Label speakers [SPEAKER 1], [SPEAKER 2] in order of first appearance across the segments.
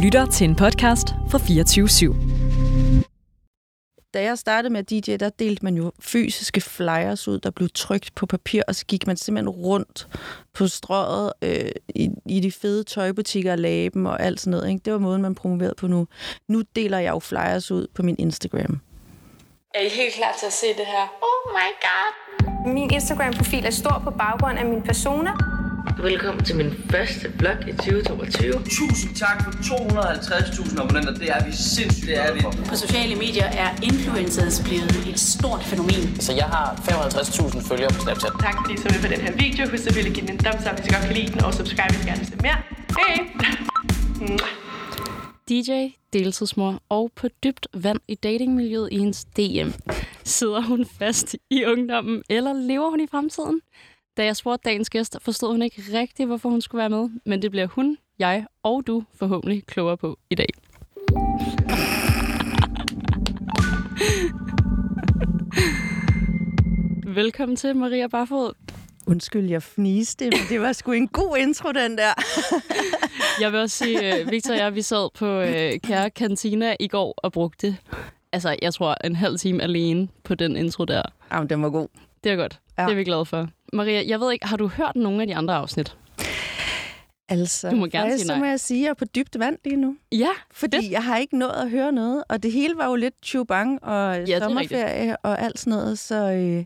[SPEAKER 1] lytter til en podcast fra 24 /7.
[SPEAKER 2] Da jeg startede med at DJ, der delte man jo fysiske flyers ud, der blev trykt på papir, og så gik man simpelthen rundt på strøget øh, i, i de fede tøjbutikker og lagde dem og alt sådan noget. Ikke? Det var måden, man promoverede på nu. Nu deler jeg jo flyers ud på min Instagram.
[SPEAKER 3] Er I helt klar til at se det her?
[SPEAKER 4] Oh my god. Min Instagram-profil er stor på baggrund af min persona.
[SPEAKER 5] Velkommen til min første vlog i 2022.
[SPEAKER 6] Tusind tak for 250.000 abonnenter. Det er vi sindssygt det er vi.
[SPEAKER 7] På sociale medier er influencers blevet et stort fænomen.
[SPEAKER 8] Så jeg har 55.000 følgere på Snapchat.
[SPEAKER 9] Tak fordi I så med på den her video. Husk at ville give den en thumbs up, hvis I godt kan lide den, og subscribe, hvis I gerne vil se mere. Hej!
[SPEAKER 10] DJ, deltidsmor og på dybt vand i datingmiljøet i hendes DM. Sidder hun fast i ungdommen, eller lever hun i fremtiden? Da jeg spurgte dagens gæst, forstod hun ikke rigtigt, hvorfor hun skulle være med, men det bliver hun, jeg og du forhåbentlig klogere på i dag. Velkommen til, Maria Barfod.
[SPEAKER 2] Undskyld, jeg fniste, men det var sgu en god intro, den der.
[SPEAKER 10] Jeg vil også sige, øh, Victor og jeg, vi sad på øh, Kære Cantina i går og brugte, altså jeg tror, en halv time alene på den intro der.
[SPEAKER 2] Jamen, den var god.
[SPEAKER 10] Det er godt. Ja.
[SPEAKER 2] Ja.
[SPEAKER 10] Det er vi glade for. Maria, jeg ved ikke, har du hørt nogen af de andre afsnit?
[SPEAKER 2] Altså,
[SPEAKER 10] Du må gerne
[SPEAKER 2] faktisk,
[SPEAKER 10] sige
[SPEAKER 2] så
[SPEAKER 10] nej.
[SPEAKER 2] må jeg sige, at jeg er på dybt vand lige nu.
[SPEAKER 10] Ja,
[SPEAKER 2] Fordi
[SPEAKER 10] Fedt.
[SPEAKER 2] jeg har ikke nået at høre noget, og det hele var jo lidt chubang og
[SPEAKER 10] det er
[SPEAKER 2] ja, sommerferie og alt sådan noget, så... Øh,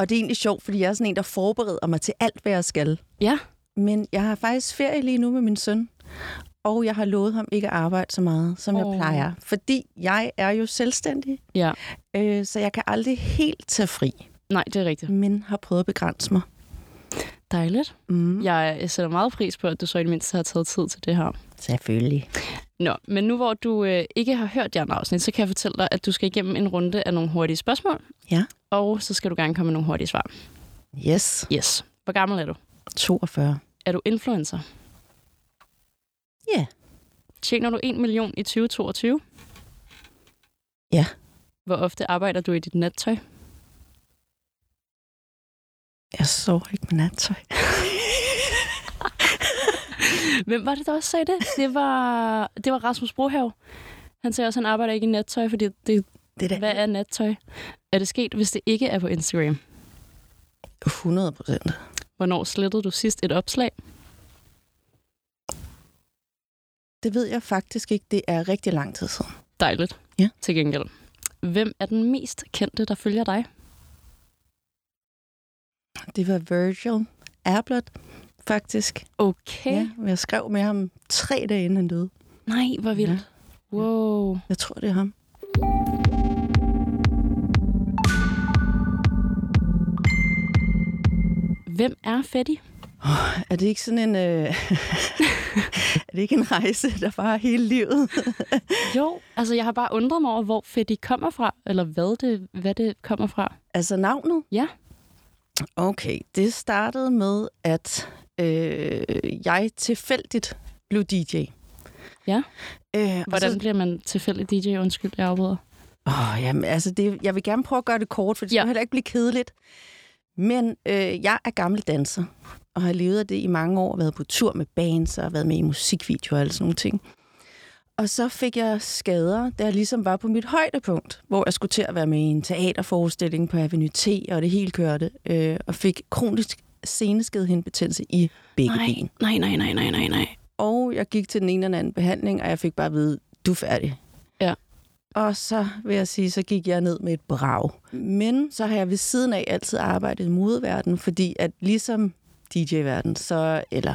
[SPEAKER 2] og det er egentlig sjovt, fordi jeg er sådan en, der forbereder mig til alt, hvad jeg skal.
[SPEAKER 10] Ja.
[SPEAKER 2] Men jeg har faktisk ferie lige nu med min søn, og jeg har lovet ham ikke at arbejde så meget, som oh.
[SPEAKER 10] Åh.
[SPEAKER 2] jeg plejer. Fordi jeg er jo selvstændig,
[SPEAKER 10] Ja.
[SPEAKER 2] øh, så jeg kan aldrig helt tage fri,
[SPEAKER 10] Nej, det er rigtigt.
[SPEAKER 2] men har prøvet at begrænse mig.
[SPEAKER 10] Dejligt.
[SPEAKER 2] Mm.
[SPEAKER 10] Jeg, jeg sætter meget pris på, at du så i det mindste har taget tid til det her.
[SPEAKER 2] Selvfølgelig.
[SPEAKER 10] Nå, men nu hvor du øh, ikke har hørt de andre afsnit, så kan jeg fortælle dig, at du skal igennem en runde af nogle hurtige spørgsmål.
[SPEAKER 2] Ja.
[SPEAKER 10] Og så skal du gerne komme med nogle hurtige svar.
[SPEAKER 2] Yes.
[SPEAKER 10] Yes. Hvor gammel er du?
[SPEAKER 2] 42.
[SPEAKER 10] Er du influencer?
[SPEAKER 2] Ja.
[SPEAKER 10] Tjener du 1 million i 2022?
[SPEAKER 2] Ja.
[SPEAKER 10] Hvor ofte arbejder du i dit nattøj?
[SPEAKER 2] Jeg sover ikke med nattøj.
[SPEAKER 10] Hvem var det, der også sagde det? Det var, det var Rasmus Brohave. Han sagde også, at han arbejder ikke i nattøj, fordi det,
[SPEAKER 2] Det er da
[SPEAKER 10] hvad er nattøj? Er det sket, hvis det ikke er på Instagram?
[SPEAKER 2] 100 procent.
[SPEAKER 10] Hvornår slettede du sidst et opslag?
[SPEAKER 2] Det ved jeg faktisk ikke. Det er rigtig lang tid siden.
[SPEAKER 10] Dejligt.
[SPEAKER 2] Ja.
[SPEAKER 10] Til gengæld. Hvem er den mest kendte, der følger dig?
[SPEAKER 2] Det var Virgil Abloh, faktisk.
[SPEAKER 10] Okay.
[SPEAKER 2] Ja, men jeg skrev med ham tre dage inden han døde.
[SPEAKER 10] Nej, hvor vildt. Ja. Wow.
[SPEAKER 2] Jeg tror, det er ham.
[SPEAKER 10] Hvem er Fetty?
[SPEAKER 2] Er det ikke sådan en... Øh... er det ikke en rejse, der var hele livet?
[SPEAKER 10] Jo, altså jeg har bare undret mig over, hvor Fetty kommer fra, eller hvad det, hvad det kommer fra.
[SPEAKER 2] altså navnet?
[SPEAKER 10] Ja.
[SPEAKER 2] Okay, det startede med, at øh, jeg tilfældigt blev DJ.
[SPEAKER 10] Ja.
[SPEAKER 2] Øh, og
[SPEAKER 10] Hvordan
[SPEAKER 2] så-
[SPEAKER 10] bliver man tilfældig DJ? Undskyld, jeg afbryder.
[SPEAKER 2] Åh, oh, jamen, altså, det, jeg vil gerne prøve at gøre det kort, for det
[SPEAKER 10] Ja.
[SPEAKER 2] ja. skal heller ikke blive kedeligt. Men øh, jeg er gammel danser, og har levet af det i mange år, været på tur med bands og været med i musikvideoer og alle sådan nogle ting. Og så fik jeg skader, da jeg ligesom var på mit højdepunkt, hvor jeg skulle til at være med i en teaterforestilling på Avenue T, og det hele kørte, øh, og fik kronisk seneskedhindbetændelse i begge
[SPEAKER 10] Nej,
[SPEAKER 2] ben.
[SPEAKER 10] nej, nej, nej, nej, nej, nej.
[SPEAKER 2] Og jeg gik til den ene eller anden behandling, og jeg fik bare at vide, du er færdig.
[SPEAKER 10] Ja.
[SPEAKER 2] Og så vil jeg sige, så gik jeg ned med et brag. Men så har jeg ved siden af altid arbejdet i modeverdenen, fordi at ligesom DJ-verden, så, eller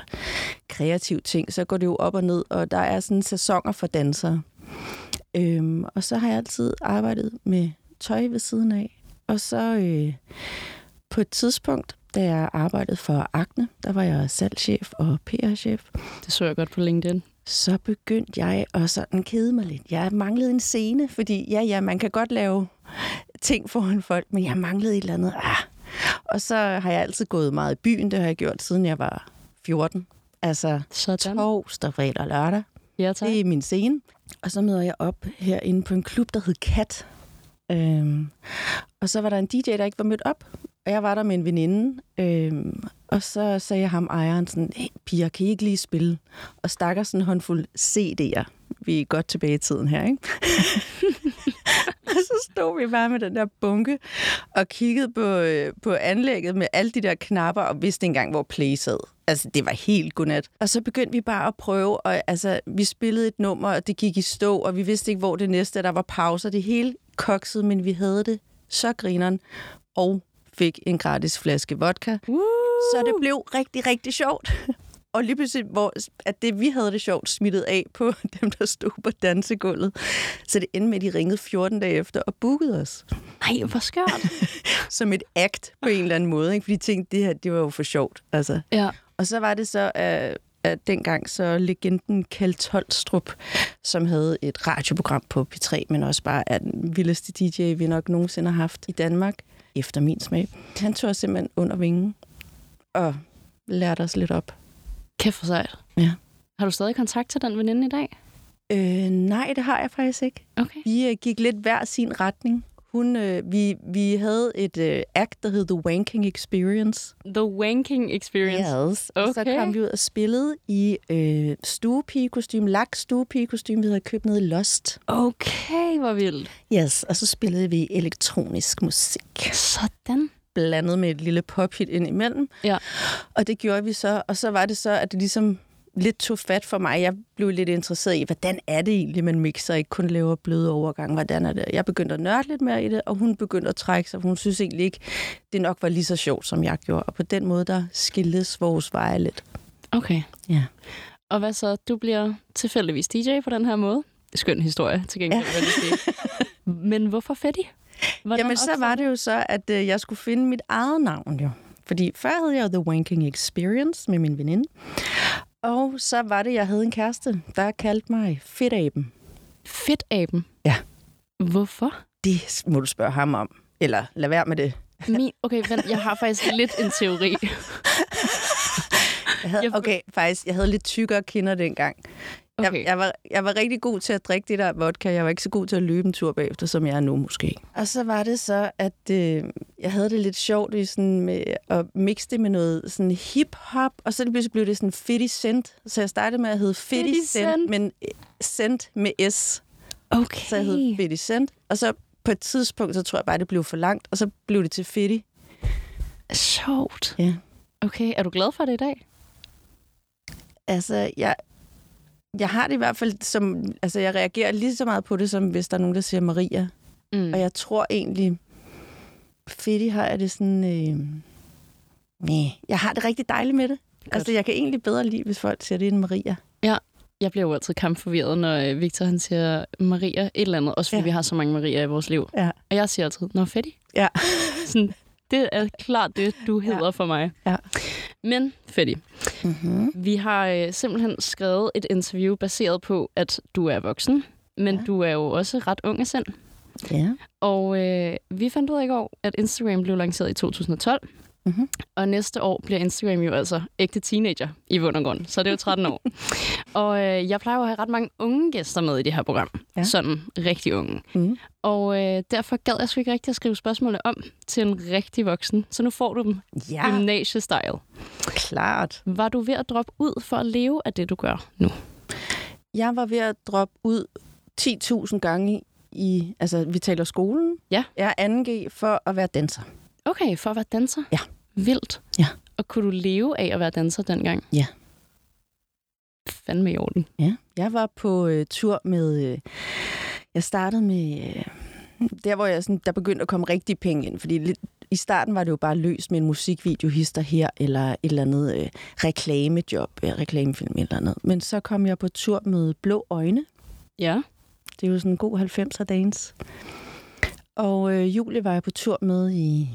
[SPEAKER 2] kreativ ting, så går det jo op og ned, og der er sådan sæsoner for dansere. Øhm, og så har jeg altid arbejdet med tøj ved siden af. Og så øh, på et tidspunkt, da jeg arbejdede for Akne, der var jeg salgschef og PR-chef,
[SPEAKER 10] Det så jeg godt på LinkedIn.
[SPEAKER 2] så begyndte jeg at sådan kede mig lidt. Jeg manglede en scene, fordi ja, ja, man kan godt lave ting foran folk, men jeg manglede et eller andet. Ah. Og så har jeg altid gået meget i byen, det har jeg gjort, siden jeg var 14. Altså
[SPEAKER 10] Sådan.
[SPEAKER 2] torsdag, fredag og lørdag.
[SPEAKER 10] Ja, tak.
[SPEAKER 2] Det er min scene. Og så møder jeg op herinde på en klub, der hed Kat. Øhm, og så var der en DJ, der ikke var mødt op. Og jeg var der med en veninde. Øhm, Og så sagde jeg ham ejeren sådan, hey, piger, kan I ikke lige spille? Og stakker sådan en håndfuld CD'er. Vi er godt tilbage i tiden her, ikke? og så stod vi bare med den der bunke og kiggede på, øh, på anlægget med alle de der knapper og vidste ikke engang, hvor play sad. Altså, det var helt godnat. Og så begyndte vi bare at prøve, og altså, vi spillede et nummer, og det gik i stå, og vi vidste ikke, hvor det næste, og der var pauser. Det hele koksede, men vi havde det så grineren. Og fik en gratis flaske vodka. Uh! Så det blev rigtig, rigtig sjovt. Og lige pludselig, hvor, at det vi havde det sjovt, smittet af på dem, der stod på dansegulvet. Så det endte med, at de ringede 14 dage efter og bookede os.
[SPEAKER 10] Nej, hvor skørt.
[SPEAKER 2] Som et act på en eller anden måde. Ikke? Fordi de tænkte, det her det var jo for sjovt. Altså.
[SPEAKER 10] ja.
[SPEAKER 2] Og så var det så, at, at dengang så legenden Kjeld Tolstrup, som havde et radioprogram på P3, men også bare er den vildeste DJ, vi nok nogensinde har haft i Danmark, efter min smag. Han tog os simpelthen under vingen og lærte os lidt op.
[SPEAKER 10] Kæft for sejt.
[SPEAKER 2] Ja.
[SPEAKER 10] Har du stadig kontakt til den veninde i dag?
[SPEAKER 2] Øh, nej, det har jeg faktisk ikke.
[SPEAKER 10] Okay.
[SPEAKER 2] Vi øh, gik lidt hver sin retning. Hun, øh, vi, vi havde et øh, act, der hed The Wanking Experience.
[SPEAKER 10] The wanking experience.
[SPEAKER 2] Yes. Okay. Og så
[SPEAKER 10] Okay.
[SPEAKER 2] kom vi ud og spillede i øh, stuepigekostyme, lak stuepigekostyme, vi havde købt nede i Lost.
[SPEAKER 10] Okay, hvor vildt.
[SPEAKER 2] Yes, og så spillede vi elektronisk musik,
[SPEAKER 10] Sådan.
[SPEAKER 2] blandet med et lille pophit ind imellem.
[SPEAKER 10] Ja.
[SPEAKER 2] Og det gjorde vi så, og så var det så, at det ligesom lidt tog fat for mig. Jeg blev lidt interesseret i, hvordan er det egentlig, man mixer, ikke kun laver bløde overgange, hvordan er det? Jeg begyndte at nørde lidt mere i det, og hun begyndte at trække sig, for hun synes egentlig ikke, det nok var lige så sjovt, som jeg gjorde. Og på den måde, der skildes vores veje lidt.
[SPEAKER 10] Okay.
[SPEAKER 2] Ja.
[SPEAKER 10] Og hvad så? Du bliver tilfældigvis DJ på den her måde. Skøn historie, til gengæld. Ja. Men hvorfor fattig? Hvordan
[SPEAKER 2] Jamen, så
[SPEAKER 10] opstod
[SPEAKER 2] var det jo så, at øh, jeg skulle finde mit eget navn, jo. Fordi før havde jeg jo The Wanking Experience med min veninde. Og så var det, jeg havde en kæreste, der kaldte mig Fedtaben.
[SPEAKER 10] Fedtaben?
[SPEAKER 2] Ja.
[SPEAKER 10] Hvorfor?
[SPEAKER 2] Det må du spørge ham om. Eller lad være med det.
[SPEAKER 10] Min, okay, vent, jeg har faktisk lidt en teori.
[SPEAKER 2] Jeg havde,
[SPEAKER 10] Jeg-
[SPEAKER 2] okay, faktisk, jeg havde lidt tykkere kinder dengang. Okay. Jeg,
[SPEAKER 10] Okay.
[SPEAKER 2] jeg, var, jeg var rigtig god til at drikke det der vodka. Jeg var ikke så god til at løbe en tur bagefter, som jeg er nu måske. Og så var det så, at øh, jeg havde det lidt sjovt i sådan med at mixe det med noget sådan hip-hop, og så lige pludselig blev det sådan 50 Cent. Så jeg startede med at hedde 50 Cent,
[SPEAKER 10] 50 Cent.
[SPEAKER 2] men øh, Cent med S.
[SPEAKER 10] Okay.
[SPEAKER 2] Så jeg hed 50 Cent. Og så på et tidspunkt, så tror jeg bare, det blev for langt, og så blev det til 50.
[SPEAKER 10] Sjovt.
[SPEAKER 2] Ja.
[SPEAKER 10] Okay, er du glad for det i dag?
[SPEAKER 2] Altså, jeg, jeg har det i hvert fald som... Altså, jeg reagerer lige så meget på det, som hvis der er nogen, der siger Maria.
[SPEAKER 10] Mm.
[SPEAKER 2] Og jeg tror egentlig... Fedt, har jeg det sådan... Øh, nej, jeg har det rigtig dejligt med det. Godt. Altså, jeg kan egentlig bedre lide, hvis folk siger, det er en Maria.
[SPEAKER 10] Jeg bliver jo altid kampforvirret, når øh, Victor han siger Maria et eller andet. Også fordi
[SPEAKER 2] Ja.
[SPEAKER 10] ja. vi har så mange Maria i vores liv.
[SPEAKER 2] Ja.
[SPEAKER 10] Og jeg siger altid, Nå, Fetty.
[SPEAKER 2] Ja.
[SPEAKER 10] Sådan, det er klart det, du hedder ja. for mig.
[SPEAKER 2] Ja.
[SPEAKER 10] Men Fetty, mm-hmm. vi har øh, simpelthen skrevet et interview baseret på, at du er voksen. Men ja. du er jo også ret ung af sind.
[SPEAKER 2] Ja.
[SPEAKER 10] Og øh, vi fandt ud af i går, at Instagram blev lanceret i 2012.
[SPEAKER 2] Mhm.
[SPEAKER 10] Mm-hmm. Og næste år bliver Instagram jo altså ægte teenager i bund og grund. Så det er jo 13 år. og øh, jeg plejer jo at have ret mange unge gæster med i det her program.
[SPEAKER 2] Ja.
[SPEAKER 10] Ja. Sådan rigtig unge.
[SPEAKER 2] Mhm.
[SPEAKER 10] Og øh, derfor gad jeg sgu ikke rigtig at skrive spørgsmålene om til en rigtig voksen. Så nu får du dem
[SPEAKER 2] Ja,
[SPEAKER 10] ja. gymnasiestyle.
[SPEAKER 2] klart.
[SPEAKER 10] Var du ved at droppe ud for at leve af det, du gør nu?
[SPEAKER 2] Jeg var ved at droppe ud 10.000 gange i... Altså, vi taler skolen.
[SPEAKER 10] Ja.
[SPEAKER 2] Jeg er 2G for at være danser.
[SPEAKER 10] Okay, for at være danser?
[SPEAKER 2] Ja.
[SPEAKER 10] Vildt.
[SPEAKER 2] Ja.
[SPEAKER 10] Og kunne du leve af at være danser dengang?
[SPEAKER 2] Ja.
[SPEAKER 10] Fandme i orden.
[SPEAKER 2] Ja, jeg var på øh, tur med... Øh, jeg startede med... Øh, der, hvor jeg sådan, der begyndte at komme rigtig penge ind, fordi lidt, i starten var det jo bare løst med en musikvideo, hister her, eller et eller andet øh, reklamejob, øh, reklamefilm et eller andet. Men så kom jeg på tur med Blå Øjne.
[SPEAKER 10] Ja.
[SPEAKER 2] Det er jo sådan en god 90'er dans. Og øh, Julie var jeg på tur med i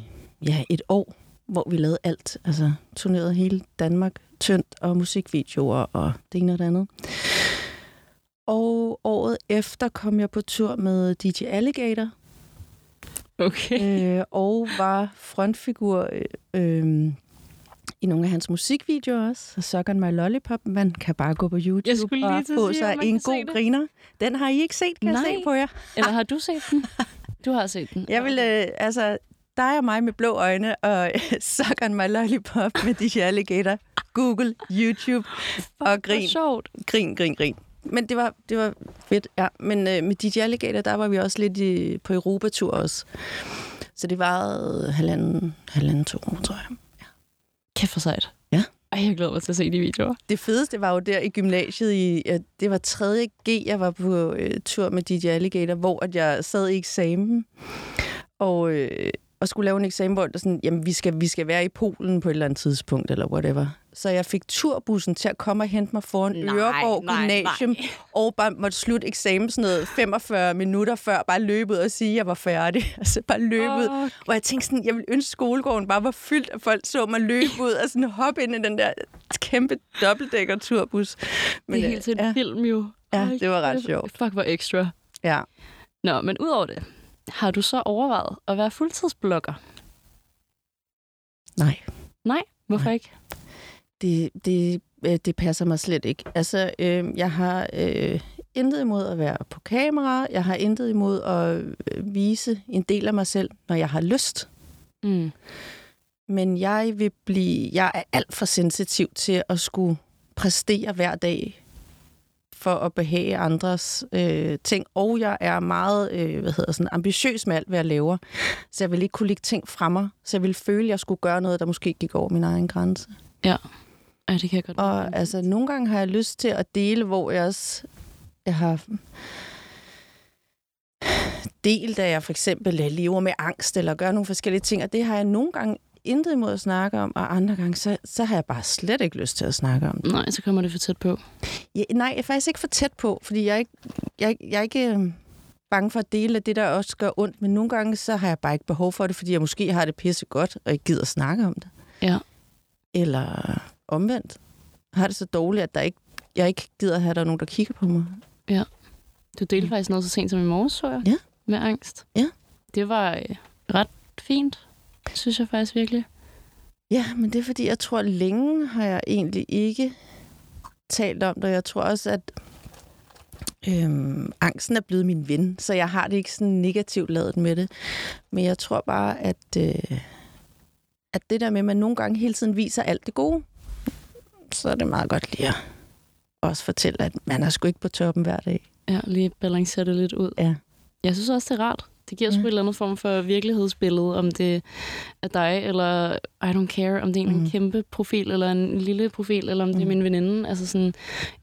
[SPEAKER 2] ja, et år, hvor vi lavede alt. Altså turnerede hele Danmark, tyndt og musikvideoer og det ene og det andet. Og året efter kom jeg på tur med DJ Alligator,
[SPEAKER 10] Okay.
[SPEAKER 2] øh, og var frontfigur øh, øh, i nogle af hans musikvideoer også. Og Suck on my lollipop. Man kan bare gå på
[SPEAKER 10] Jeg
[SPEAKER 2] YouTube
[SPEAKER 10] skulle
[SPEAKER 2] og
[SPEAKER 10] lige til at
[SPEAKER 2] få
[SPEAKER 10] sige,
[SPEAKER 2] sig
[SPEAKER 10] at man
[SPEAKER 2] en
[SPEAKER 10] kan se
[SPEAKER 2] god
[SPEAKER 10] det.
[SPEAKER 2] griner. Den har I ikke set, kan jeg
[SPEAKER 10] Nej.
[SPEAKER 2] se på jer.
[SPEAKER 10] Eller har du set den? Du har set den.
[SPEAKER 2] Jeg vil, øh, altså, dig og mig med blå øjne og suck on my lollipop med DJ Alligator, Google, YouTube og
[SPEAKER 10] Hvor
[SPEAKER 2] grin.
[SPEAKER 10] sjovt.
[SPEAKER 2] Grin, grin, grin. Men det var, det var fedt, ja. Men øh, med DJ Alligator, der var vi også lidt i, på Europatur også. Så det varede halvanden, halvanden to år, tror jeg.
[SPEAKER 10] Kæft for sejt.
[SPEAKER 2] Ja.
[SPEAKER 10] Ej, jeg glæder mig til at se de videoer.
[SPEAKER 2] Det fedeste var jo der i gymnasiet, i, ja, det var 3. G, jeg var på øh, tur med DJ Alligator, hvor at jeg sad i eksamen og, øh, og skulle lave en eksamen, hvor det sådan, jamen, vi skal, vi skal være i Polen på et eller andet tidspunkt, eller whatever. Så jeg fik turbussen til at komme og hente mig foran
[SPEAKER 10] Nej,
[SPEAKER 2] Øreborg
[SPEAKER 10] nej,
[SPEAKER 2] Gymnasium,
[SPEAKER 10] nej.
[SPEAKER 2] og bare måtte slutte eksamen sådan noget 45 minutter før, bare løbet og sige, at jeg var færdig. Altså bare løbet.
[SPEAKER 10] Åh,
[SPEAKER 2] Oh. Og jeg tænkte sådan, jeg ville ønske, at skolegården bare var fyldt, og folk så mig løbe ud og sådan hoppe ind i den der kæmpe dobbeltdækker-turbus.
[SPEAKER 10] Men, det er
[SPEAKER 2] øh,
[SPEAKER 10] helt til en
[SPEAKER 2] ja,
[SPEAKER 10] film jo.
[SPEAKER 2] Ja,
[SPEAKER 10] Hold
[SPEAKER 2] det var ret
[SPEAKER 10] kæft,
[SPEAKER 2] sjovt.
[SPEAKER 10] Fuck, hvor ekstra.
[SPEAKER 2] ja.
[SPEAKER 10] Nå, men udover det, har du så overvejet at være fuldtidsblogger?
[SPEAKER 2] Nej,
[SPEAKER 10] Nej, hvorfor
[SPEAKER 2] Nej.
[SPEAKER 10] ikke?
[SPEAKER 2] det, det, øh, det passer mig slet ikke. Altså, øh, jeg har øh, intet imod at være på kamera. Jeg har intet imod at øh, vise en del af mig selv, når jeg har lyst.
[SPEAKER 10] Mm.
[SPEAKER 2] Men jeg vil blive... Jeg er alt for sensitiv til at skulle præstere hver dag for at behage andres øh, ting. Og jeg er meget øh, hvad hedder sådan, ambitiøs med alt, hvad jeg laver. Så jeg vil ikke kunne lægge ting fra mig. Så jeg vil føle, at jeg skulle gøre noget, der måske gik over min egen grænse.
[SPEAKER 10] Ej, det kan jeg godt
[SPEAKER 2] Og altså, nogle gange har jeg lyst til at dele, hvor jeg også jeg har delt, at jeg for eksempel øh, lever med angst, eller gør nogle forskellige ting, og det har jeg nogle gange intet imod at snakke om, og andre gange, så, så har jeg bare slet ikke lyst til at snakke om det.
[SPEAKER 10] Nej, så kommer det for tæt på.
[SPEAKER 2] Ja, nej, jeg er faktisk ikke for tæt på, fordi jeg er ikke, jeg, er ikke- jeg er ikke øh, bange for at dele af det, der også gør ondt, men nogle gange, så har jeg bare ikke behov for det, fordi jeg måske har det pisse godt, og ikke gider snakke om det.
[SPEAKER 10] Ja.
[SPEAKER 2] Eller omvendt. Har det så dårligt, at der ikke, jeg ikke gider have, at der er nogen, der kigger på mig.
[SPEAKER 10] Du delte faktisk noget så sent som i morges, så jeg.
[SPEAKER 2] Ja.
[SPEAKER 10] Med angst.
[SPEAKER 2] Ja.
[SPEAKER 10] Det var øh, ret fint, synes jeg faktisk virkelig.
[SPEAKER 2] Ja, men det er fordi, jeg tror, længe har jeg egentlig ikke talt om det. Jeg tror også, at øhm, angsten er blevet min ven, så jeg har det ikke sådan negativt lavet med det. Men jeg tror bare, at, øh, at det der med, at man nogle gange hele tiden viser alt det gode, så er det meget godt lige at også fortælle, at man er sgu ikke på toppen hver dag.
[SPEAKER 10] Ja, lige balancere det lidt ud.
[SPEAKER 2] Ja.
[SPEAKER 10] Jeg synes også, det er rart. Det giver ja. sgu
[SPEAKER 2] Ja.
[SPEAKER 10] et eller andet form for virkelighedsbillede, om det er dig, eller I don't care, om det er en mm.
[SPEAKER 2] Mhm.
[SPEAKER 10] kæmpe profil, eller en lille profil, eller om det er
[SPEAKER 2] Mhm.
[SPEAKER 10] min veninde. Altså sådan,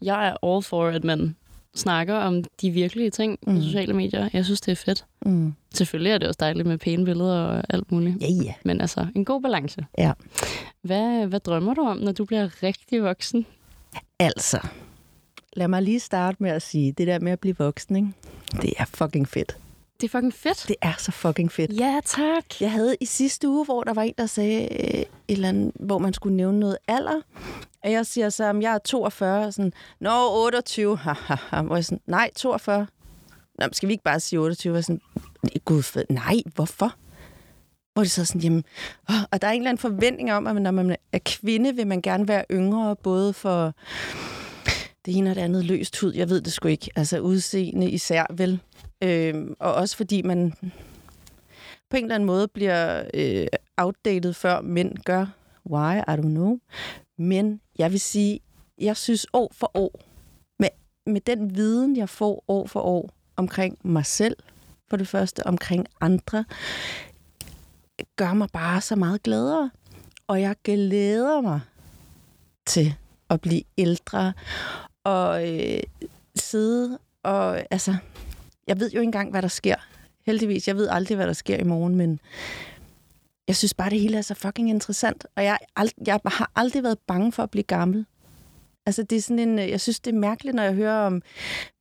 [SPEAKER 10] jeg er all for, at man snakker om de virkelige ting mm. på
[SPEAKER 2] Mhm.
[SPEAKER 10] sociale medier. Jeg synes, det er fedt.
[SPEAKER 2] Mm.
[SPEAKER 10] Selvfølgelig er det også dejligt med pæne billeder og alt muligt.
[SPEAKER 2] Ja, ja.
[SPEAKER 10] Men altså, en god balance.
[SPEAKER 2] Ja.
[SPEAKER 10] Hvad, hvad drømmer du om, når du bliver rigtig voksen?
[SPEAKER 2] Altså, lad mig lige starte med at sige, det der med at blive voksen, ikke? det er fucking fedt.
[SPEAKER 10] Det er fucking fedt.
[SPEAKER 2] Det er så fucking fedt.
[SPEAKER 10] Ja, tak.
[SPEAKER 2] Jeg havde i sidste uge, hvor der var en, der sagde øh, et eller andet, hvor man skulle nævne noget alder. Og jeg siger så, at jeg er 42, og sådan, nå, 28, haha, hvor jeg sådan, nej, 42. Nå, men skal vi ikke bare sige 28? Og sådan, gud, fed, nej, hvorfor? Hvor det så er sådan, jamen, åh, og der er en eller anden forventning om, at når man er kvinde, vil man gerne være yngre, både for det ene og det andet løst hud, jeg ved det sgu ikke, altså udseende især vel. Øhm, og også fordi man på en eller anden måde bliver øh, outdated, før mænd gør. Why? I don't know. Men jeg vil sige, jeg synes år for år, med, med den viden, jeg får år for år omkring mig selv, for det første omkring andre, gør mig bare så meget gladere. Og jeg glæder mig til at blive ældre og øh, sidde og altså, jeg ved jo ikke engang, hvad der sker heldigvis. Jeg ved aldrig, hvad der sker i morgen, men jeg synes bare, det hele er så fucking interessant. Og jeg, er ald- jeg har aldrig været bange for at blive gammel. Altså, det er sådan en, øh, jeg synes, det er mærkeligt, når jeg hører om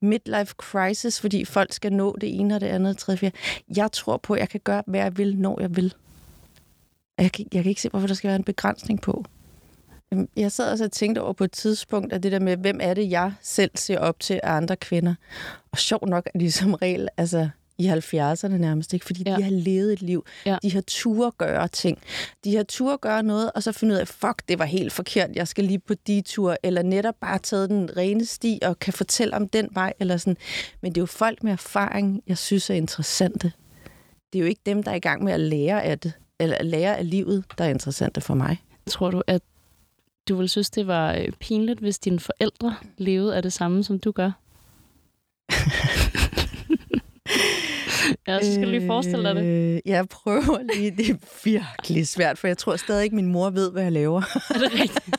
[SPEAKER 2] midlife crisis, fordi folk skal nå det ene og det andet, tredje, fjerde. Jeg tror på, at jeg kan gøre, hvad jeg vil, når jeg vil. Og Jeg kan, jeg kan ikke se, hvorfor der skal være en begrænsning på. Øhm, Jeg sad også og tænkte over på et tidspunkt, at det der med, hvem er det, jeg selv ser op til af andre kvinder. Og sjov nok er de som regel altså, i 70'erne nærmest, ikke? fordi
[SPEAKER 10] Ja.
[SPEAKER 2] ja. de har levet et liv.
[SPEAKER 10] Ja.
[SPEAKER 2] De har tur gøre ting. De har tur gøre noget, og så finde ud af, fuck, det var helt forkert, jeg skal lige på de tur, eller netop bare taget den rene sti og kan fortælle om den vej, eller sådan. Men det er jo folk med erfaring, jeg synes er interessante. Det er jo ikke dem, der er i gang med at lære af det, eller lære af livet, der er interessante for mig.
[SPEAKER 10] Tror du, at du ville synes, det var øh, pinligt, hvis dine forældre levede af det samme, som du gør? jeg skal lige forestille dig det.
[SPEAKER 2] Øh, Jeg prøver lige. Det er virkelig svært, for jeg tror stadig ikke, min mor ved, hvad jeg laver.
[SPEAKER 10] Er det rigtigt?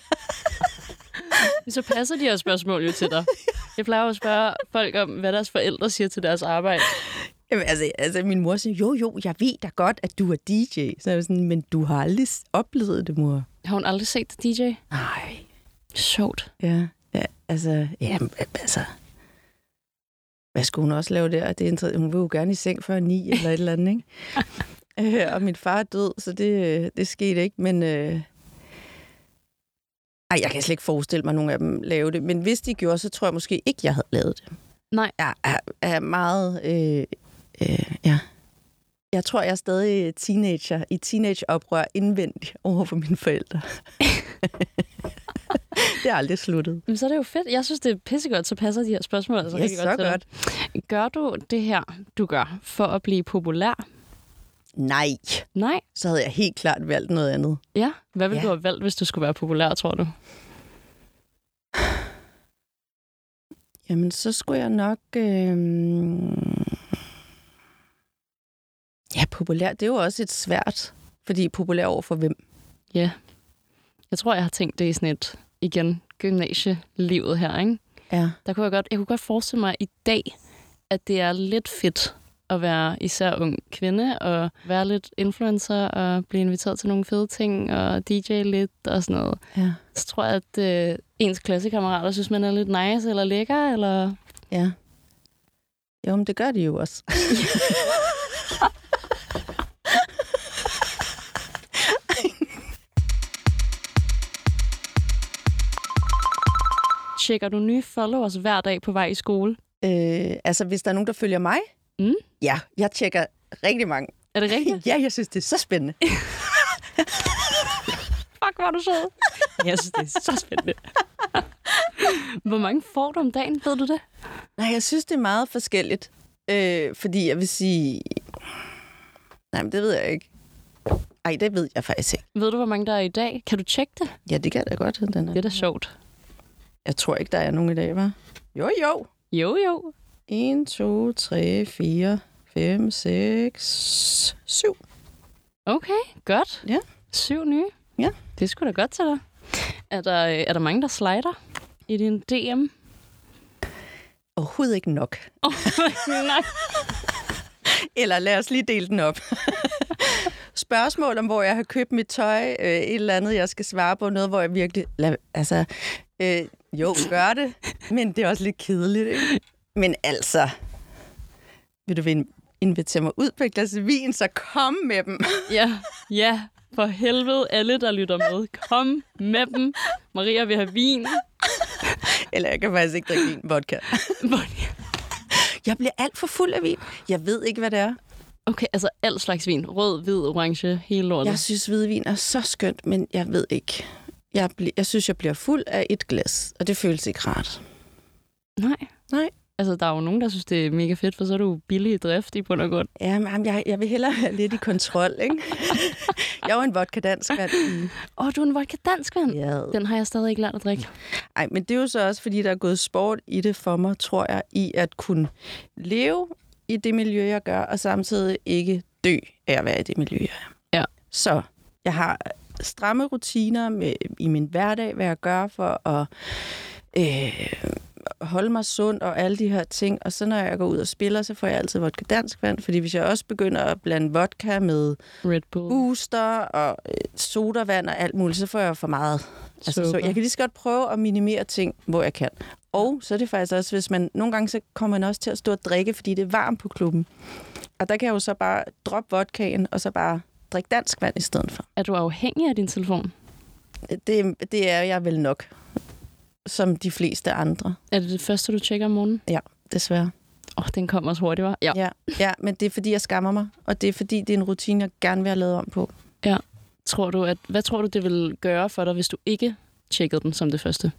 [SPEAKER 10] Men Så passer de her spørgsmål jo til dig. Jeg plejer jo at spørge folk om, hvad deres forældre siger til deres arbejde.
[SPEAKER 2] Jamen, altså, altså, min mor siger, jo, jo, jeg ved da godt, at du er DJ. Så er jeg sådan, men du har aldrig s- oplevet det, mor.
[SPEAKER 10] Har hun aldrig set dig, DJ?
[SPEAKER 2] Nej.
[SPEAKER 10] Sjovt.
[SPEAKER 2] Ja, ja altså, ja, altså... Hvad skulle hun også lave der? Det er inter- hun vil jo gerne i seng før ni eller et eller andet, ikke? øh, og min far er død, så det, øh, det skete ikke, men... Øh... Ej, jeg kan slet ikke forestille mig, at nogen af dem lave det. Men hvis de gjorde, så tror jeg måske ikke, jeg havde lavet det.
[SPEAKER 10] Nej.
[SPEAKER 2] Jeg er, er meget... Øh, øh, ja. Jeg tror, jeg er stadig teenager, i teenageoprør indvendigt over for mine forældre. det er aldrig sluttet.
[SPEAKER 10] Men så er det jo fedt. Jeg synes, det er pissegodt, så passer de her spørgsmål altså
[SPEAKER 2] Ja,
[SPEAKER 10] rigtig
[SPEAKER 2] så
[SPEAKER 10] godt til dig.
[SPEAKER 2] godt.
[SPEAKER 10] Gør du det her, du gør, for at blive populær?
[SPEAKER 2] Nej,
[SPEAKER 10] Nej.
[SPEAKER 2] så havde jeg helt klart valgt noget andet.
[SPEAKER 10] Ja. Hvad ville
[SPEAKER 2] Ja.
[SPEAKER 10] ja. du have valgt, hvis du skulle være populær, tror du?
[SPEAKER 2] Jamen, så skulle jeg nok... Øh... Ja, populær, det er jo også et svært, fordi populær over for hvem?
[SPEAKER 10] Ja. Jeg tror, jeg har tænkt det i sådan et, igen, gymnasielivet her, ikke?
[SPEAKER 2] Ja.
[SPEAKER 10] Der kunne jeg godt, jeg kunne godt forestille mig i dag, at det er lidt fedt at være især ung kvinde, og være lidt influencer, og blive inviteret til nogle fede ting, og DJ lidt, og sådan noget.
[SPEAKER 2] Ja.
[SPEAKER 10] Så tror jeg, at øh, ens klassekammerater synes, man er lidt nice, eller lækker, eller...
[SPEAKER 2] Ja. Jo, men det gør de jo også.
[SPEAKER 10] Tjekker du nye followers hver dag på vej i skole?
[SPEAKER 2] øh, altså, hvis der er nogen, der følger mig?
[SPEAKER 10] Mm.
[SPEAKER 2] Ja, jeg tjekker rigtig mange.
[SPEAKER 10] Er det rigtigt?
[SPEAKER 2] Ja, jeg synes, det er så spændende.
[SPEAKER 10] Fuck, hvor er du sød. Jeg synes, det er så spændende. hvor mange får du om dagen, ved du det?
[SPEAKER 2] Nej, jeg synes, det er meget forskelligt. Øh, fordi jeg vil sige... Nej, men det ved jeg ikke. Ej, det ved jeg faktisk ikke.
[SPEAKER 10] Ved du, hvor mange der er i dag? Kan du tjekke det?
[SPEAKER 2] Ja, det kan jeg da godt. Den
[SPEAKER 10] Det er
[SPEAKER 2] er.
[SPEAKER 10] da sjovt.
[SPEAKER 2] Jeg tror ikke, der er nogen i dag, var. Jo, jo.
[SPEAKER 10] Jo, jo.
[SPEAKER 2] 1, 2, 3, 4, 5, 6, 7.
[SPEAKER 10] Okay, godt.
[SPEAKER 2] Ja.
[SPEAKER 10] Syv nye.
[SPEAKER 2] Ja.
[SPEAKER 10] Det skulle da godt til dig. Er der, øh, er der mange, der slider i din DM?
[SPEAKER 2] Overhovedet ikke nok.
[SPEAKER 10] Oh, nej.
[SPEAKER 2] Eller lad os lige dele den op. Spørgsmål om, hvor jeg har købt mit tøj, øh, et eller andet, jeg skal svare på, noget, hvor jeg virkelig... Lad, altså, øh, jo, gør det, men det er også lidt kedeligt, ikke? Men altså, vil du vin- invitere mig ud på et glas vin, så kom med dem.
[SPEAKER 10] Ja, ja. For helvede, alle, der lytter med. Kom med dem. Maria vil have vin.
[SPEAKER 2] Eller jeg kan faktisk ikke drikke vin vodka. Jeg bliver alt for fuld af vin. Jeg ved ikke, hvad det er.
[SPEAKER 10] Okay, altså al slags vin. Rød, hvid, orange, hele lortet.
[SPEAKER 2] Jeg synes, hvidvin er så skønt, men jeg ved ikke. Jeg, bl- jeg synes, jeg bliver fuld af et glas, og det føles ikke rart.
[SPEAKER 10] Nej.
[SPEAKER 2] Nej.
[SPEAKER 10] Altså, der er jo nogen, der synes, det er mega fedt, for så er du billig i drift i bund og grund.
[SPEAKER 2] Ja, men jeg, jeg vil hellere være lidt i kontrol, ikke? jeg var en vodka dansk mand.
[SPEAKER 10] Åh, oh, du er en vodka dansk, mand.
[SPEAKER 2] Ja.
[SPEAKER 10] Den har jeg stadig ikke lært at drikke.
[SPEAKER 2] Ej, men det er jo så også, fordi der er gået sport i det for mig, tror jeg, i at kunne leve i det miljø, jeg gør, og samtidig ikke dø af at være i det miljø, jeg er.
[SPEAKER 10] Ja.
[SPEAKER 2] Så jeg har stramme rutiner med, i min hverdag, hvad jeg gør for at øh, holde mig sund og alle de her ting. Og så når jeg går ud og spiller, så får jeg altid vodka dansk vand, fordi hvis jeg også begynder at blande vodka med
[SPEAKER 10] Red Bull.
[SPEAKER 2] booster og øh, sodavand og alt muligt, så får jeg for meget. Altså, så
[SPEAKER 10] Sukker.
[SPEAKER 2] jeg kan lige så godt prøve at minimere ting, hvor jeg kan. Og så er det faktisk også, hvis man nogle gange, så kommer man også til at stå og drikke, fordi det er varmt på klubben. Og der kan jeg jo så bare droppe vodkaen, og så bare drikke dansk vand i stedet for.
[SPEAKER 10] Er du afhængig af din telefon?
[SPEAKER 2] Det, det er jeg vel nok, som de fleste andre,
[SPEAKER 10] Er det det første, du tjekker om morgenen?
[SPEAKER 2] desværre.
[SPEAKER 10] Åh, oh, den kommer også hurtigt, var. Ja.
[SPEAKER 2] Ja. ja, men det er fordi, jeg skammer mig, og det er fordi, det er en rutine, jeg gerne vil have lavet om på.
[SPEAKER 10] Tror du, at, hvad tror du, det vil gøre for dig, hvis du ikke tjekkede den som det første?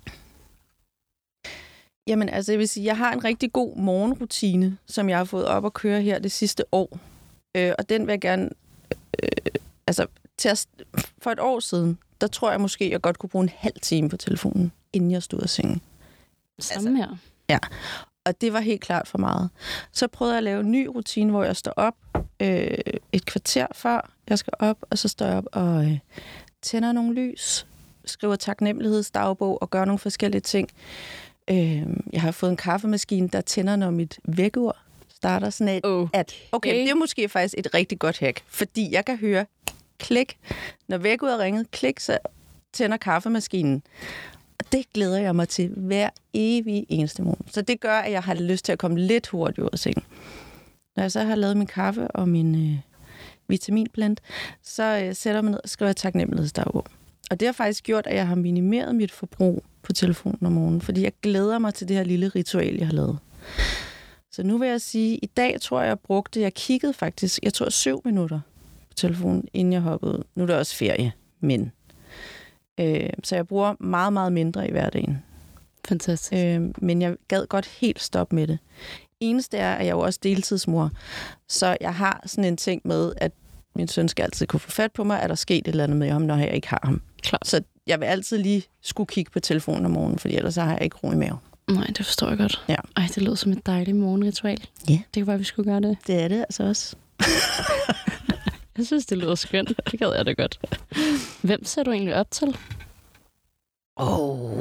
[SPEAKER 2] Jamen altså, jeg vil sige, jeg har en rigtig god morgenrutine, som jeg har fået op at køre her det sidste år. Øh, og den vil jeg gerne... Øh, altså, til at, for et år siden, der tror jeg måske, jeg godt kunne bruge en halv time på telefonen, inden jeg stod af sengen. Altså-
[SPEAKER 10] Samme her.
[SPEAKER 2] Og det var helt klart for meget. Så prøvede jeg at lave en ny rutine, hvor jeg står op øh, et kvarter før jeg skal op, og så står jeg op og øh, tænder nogle lys, skriver taknemmelighedsdagbog og gør nogle forskellige ting. Øh, jeg har fået en kaffemaskine, der tænder, når mit vækkeur starter sådan et,
[SPEAKER 10] Okay.
[SPEAKER 2] at, okay, det er måske faktisk et rigtig godt hack, fordi jeg kan høre klik. Når vækkeuret ringede klik, så tænder kaffemaskinen. Og det glæder jeg mig til hver evig eneste morgen. Så det gør, at jeg har lyst til at komme lidt hurtigt ud af sengen. Når jeg så har lavet min kaffe og min øh, vitaminblend, så øh, sætter jeg mig ned og skriver taknemmelighedsdagbog. Og det har faktisk gjort, at jeg har minimeret mit forbrug på telefonen om morgenen, fordi jeg glæder mig til det her lille ritual, jeg har lavet. Så nu vil jeg sige, at i dag tror jeg, jeg brugte, jeg kiggede faktisk, jeg tror syv minutter på telefonen, inden jeg hoppede ud. Nu er det også ferie, men... Øh, så jeg bruger meget, meget mindre i hverdagen.
[SPEAKER 10] Fantastisk.
[SPEAKER 2] Øh, men jeg gad godt helt stoppe med det. Eneste er, at jeg er jo også deltidsmor, så jeg har sådan en ting med, at min søn skal altid kunne få fat på mig, at der er sket et eller andet med ham, når jeg ikke har ham.
[SPEAKER 10] Klart.
[SPEAKER 2] Så jeg vil altid lige skulle kigge på telefonen om morgenen, fordi ellers så har jeg ikke ro i maven.
[SPEAKER 10] Nej, det forstår jeg godt.
[SPEAKER 2] Ja.
[SPEAKER 10] Ej, det lød som et dejligt morgenritual.
[SPEAKER 2] Ja.
[SPEAKER 10] Det kunne være, vi skulle gøre det.
[SPEAKER 2] Det er det altså også.
[SPEAKER 10] Jeg synes, det lyder skønt. Det gad jeg da godt. Hvem ser du egentlig op til?
[SPEAKER 2] Åh, oh,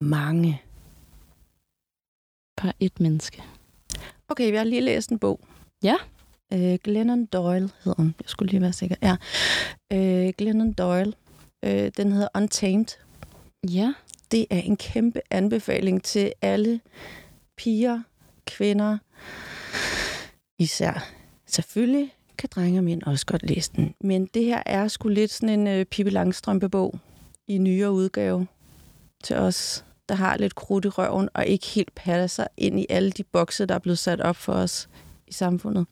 [SPEAKER 2] mange.
[SPEAKER 10] Bare et menneske.
[SPEAKER 2] Okay, jeg har lige læst en bog.
[SPEAKER 10] Ja.
[SPEAKER 2] Øh, Glennon Doyle hedder hun. Jeg skulle lige være sikker. Ja. Øh, Glennon Doyle. Øh, den hedder Untamed.
[SPEAKER 10] Ja.
[SPEAKER 2] det er en kæmpe anbefaling til alle piger, kvinder, især selvfølgelig kan drenge og mænd også godt læse den. Men det her er sgu lidt sådan en øh, Pippi Langstrømpe-bog i nyere udgave til os, der har lidt krudt i røven og ikke helt passer ind i alle de bokse, der er blevet sat op for os i samfundet.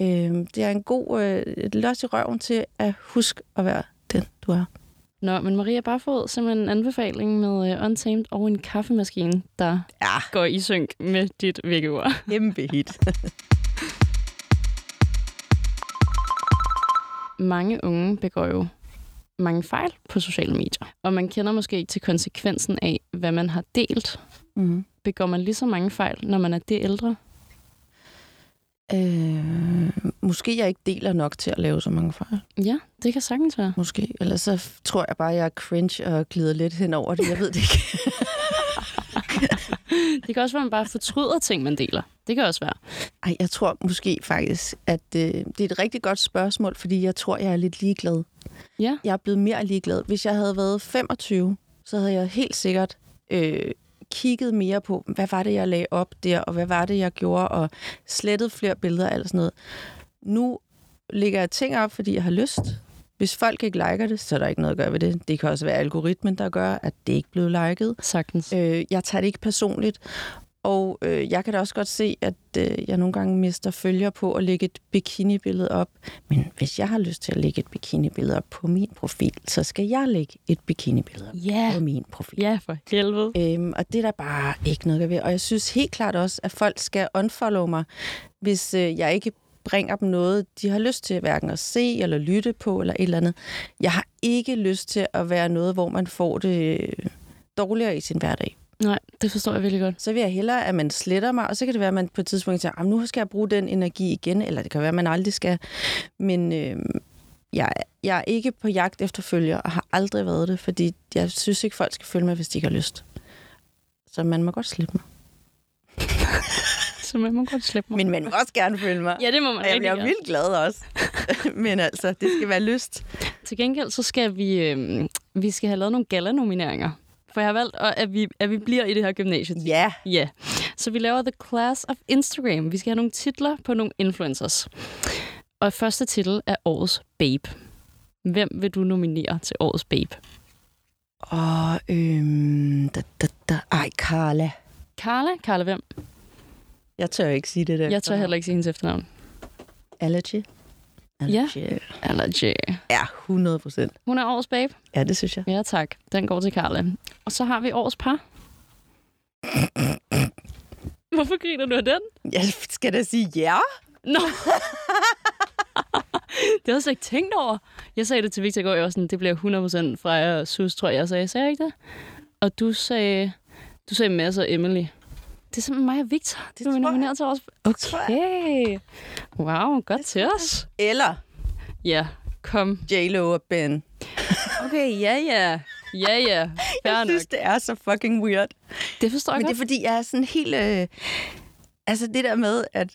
[SPEAKER 2] Øh, det er en god øh, løs i røven til at huske at være den, du er.
[SPEAKER 10] Nå, men Maria Barfod, simpelthen en anbefaling med uh, Untamed og en kaffemaskine, der
[SPEAKER 2] Ja.
[SPEAKER 10] går i synk med dit vækkeord.
[SPEAKER 2] Kæmpe hit.
[SPEAKER 10] Mange unge begår jo mange fejl på sociale medier, og man kender måske ikke til konsekvensen af, hvad man har delt.
[SPEAKER 2] Mm.
[SPEAKER 10] Begår man lige så mange fejl, når man er det ældre?
[SPEAKER 2] Øh, måske jeg ikke deler nok til at lave så mange fejl.
[SPEAKER 10] Ja, det kan sagtens være.
[SPEAKER 2] Måske. Ellers så f- tror jeg bare, jeg er cringe og glider lidt hen over det. Jeg ved det ikke.
[SPEAKER 10] Det kan også være, at man bare fortryder ting, man deler. Det kan også være.
[SPEAKER 2] Ej, jeg tror måske faktisk, at øh, det er et rigtig godt spørgsmål, fordi jeg tror, jeg er lidt ligeglad.
[SPEAKER 10] Ja.
[SPEAKER 2] Jeg er blevet mere ligeglad. Hvis jeg havde været 25, så havde jeg helt sikkert øh, kigget mere på, hvad var det, jeg lagde op der, og hvad var det, jeg gjorde, og slettet flere billeder og alt sådan noget. Nu lægger jeg ting op, fordi jeg har lyst. Hvis folk ikke liker det, så er der ikke noget at gøre ved det. Det kan også være algoritmen, der gør, at det ikke blev liket.
[SPEAKER 10] Sagtens.
[SPEAKER 2] Øh, jeg tager det ikke personligt. Og øh, jeg kan da også godt se, at øh, jeg nogle gange mister følger på at lægge et bikinibillede op. Men hvis jeg har lyst til at lægge et bikinibillede op på min profil, så skal jeg lægge et bikinibillede op
[SPEAKER 10] Ja.
[SPEAKER 2] på min profil.
[SPEAKER 10] Ja, for helvede.
[SPEAKER 2] Øhm, og det er der bare ikke noget at ved. Og jeg synes helt klart også, at folk skal unfollow mig, hvis øh, jeg ikke bringer dem noget, de har lyst til hverken at se eller lytte på eller et eller andet. Jeg har ikke lyst til at være noget, hvor man får det øh, dårligere i sin hverdag
[SPEAKER 10] Nej, det forstår jeg virkelig godt.
[SPEAKER 2] så vil jeg hellere, at man sletter mig, og så kan det være, at man på et tidspunkt siger, "Jamen, nu skal jeg bruge den energi igen, eller det kan være, at man aldrig skal. Men øh, jeg, jeg er ikke på jagt efter følger, og har aldrig været det, fordi jeg synes ikke, folk skal følge mig, hvis de ikke har lyst. Så man må godt slippe mig.
[SPEAKER 10] Så man må godt slippe mig.
[SPEAKER 2] Men man må også gerne følge mig.
[SPEAKER 10] Ja, det må man
[SPEAKER 2] og jeg
[SPEAKER 10] rigtig
[SPEAKER 2] bliver
[SPEAKER 10] gerne.
[SPEAKER 2] vildt glad også. Men altså, det skal være lyst.
[SPEAKER 10] Til gengæld så skal vi, øh, vi skal have lavet nogle galanomineringer. For jeg har valgt, at at vi, at vi bliver i det her gymnasiet.
[SPEAKER 2] Ja.
[SPEAKER 10] Ja. Så vi laver The Class of Instagram. Vi skal have nogle titler på nogle influencers. Og første titel er Årets Babe. Hvem vil du nominere til Årets Babe?
[SPEAKER 2] Og øhm, da, da, da. Ej, Carla.
[SPEAKER 10] Carla? Carla hvem?
[SPEAKER 2] Jeg tør ikke sige det der.
[SPEAKER 10] Jeg tør heller ikke sige hendes efternavn.
[SPEAKER 2] Allergy. Allergy. Ja.
[SPEAKER 10] Eller J.
[SPEAKER 2] ja, 100 procent.
[SPEAKER 10] Hun er Årets Babe.
[SPEAKER 2] Ja, det synes jeg.
[SPEAKER 10] Ja tak. Den går til Carla. Og så har vi Årets Par. Hvorfor griner du af den?
[SPEAKER 2] Jeg skal da sige ja.
[SPEAKER 10] Nå! det havde jeg slet ikke tænkt over. Jeg sagde det til Victor i går, jeg var sådan, det bliver 100% fra jer og Sus, tror jeg, jeg sagde. Sagde jeg ikke det? Og du sagde, du sagde Mads og Emily. Det er simpelthen mig og Victor, det du er nomineret til års... Okay. Wow, godt til os.
[SPEAKER 2] Eller
[SPEAKER 10] Ja, kom.
[SPEAKER 2] J-Lo og Ben.
[SPEAKER 10] Okay, ja, ja. Ja, ja. Fair
[SPEAKER 2] Jeg
[SPEAKER 10] nok.
[SPEAKER 2] synes, det er så fucking weird.
[SPEAKER 10] Det forstår jeg
[SPEAKER 2] Men det er,
[SPEAKER 10] godt.
[SPEAKER 2] fordi jeg er sådan helt... Øh, altså det der med, at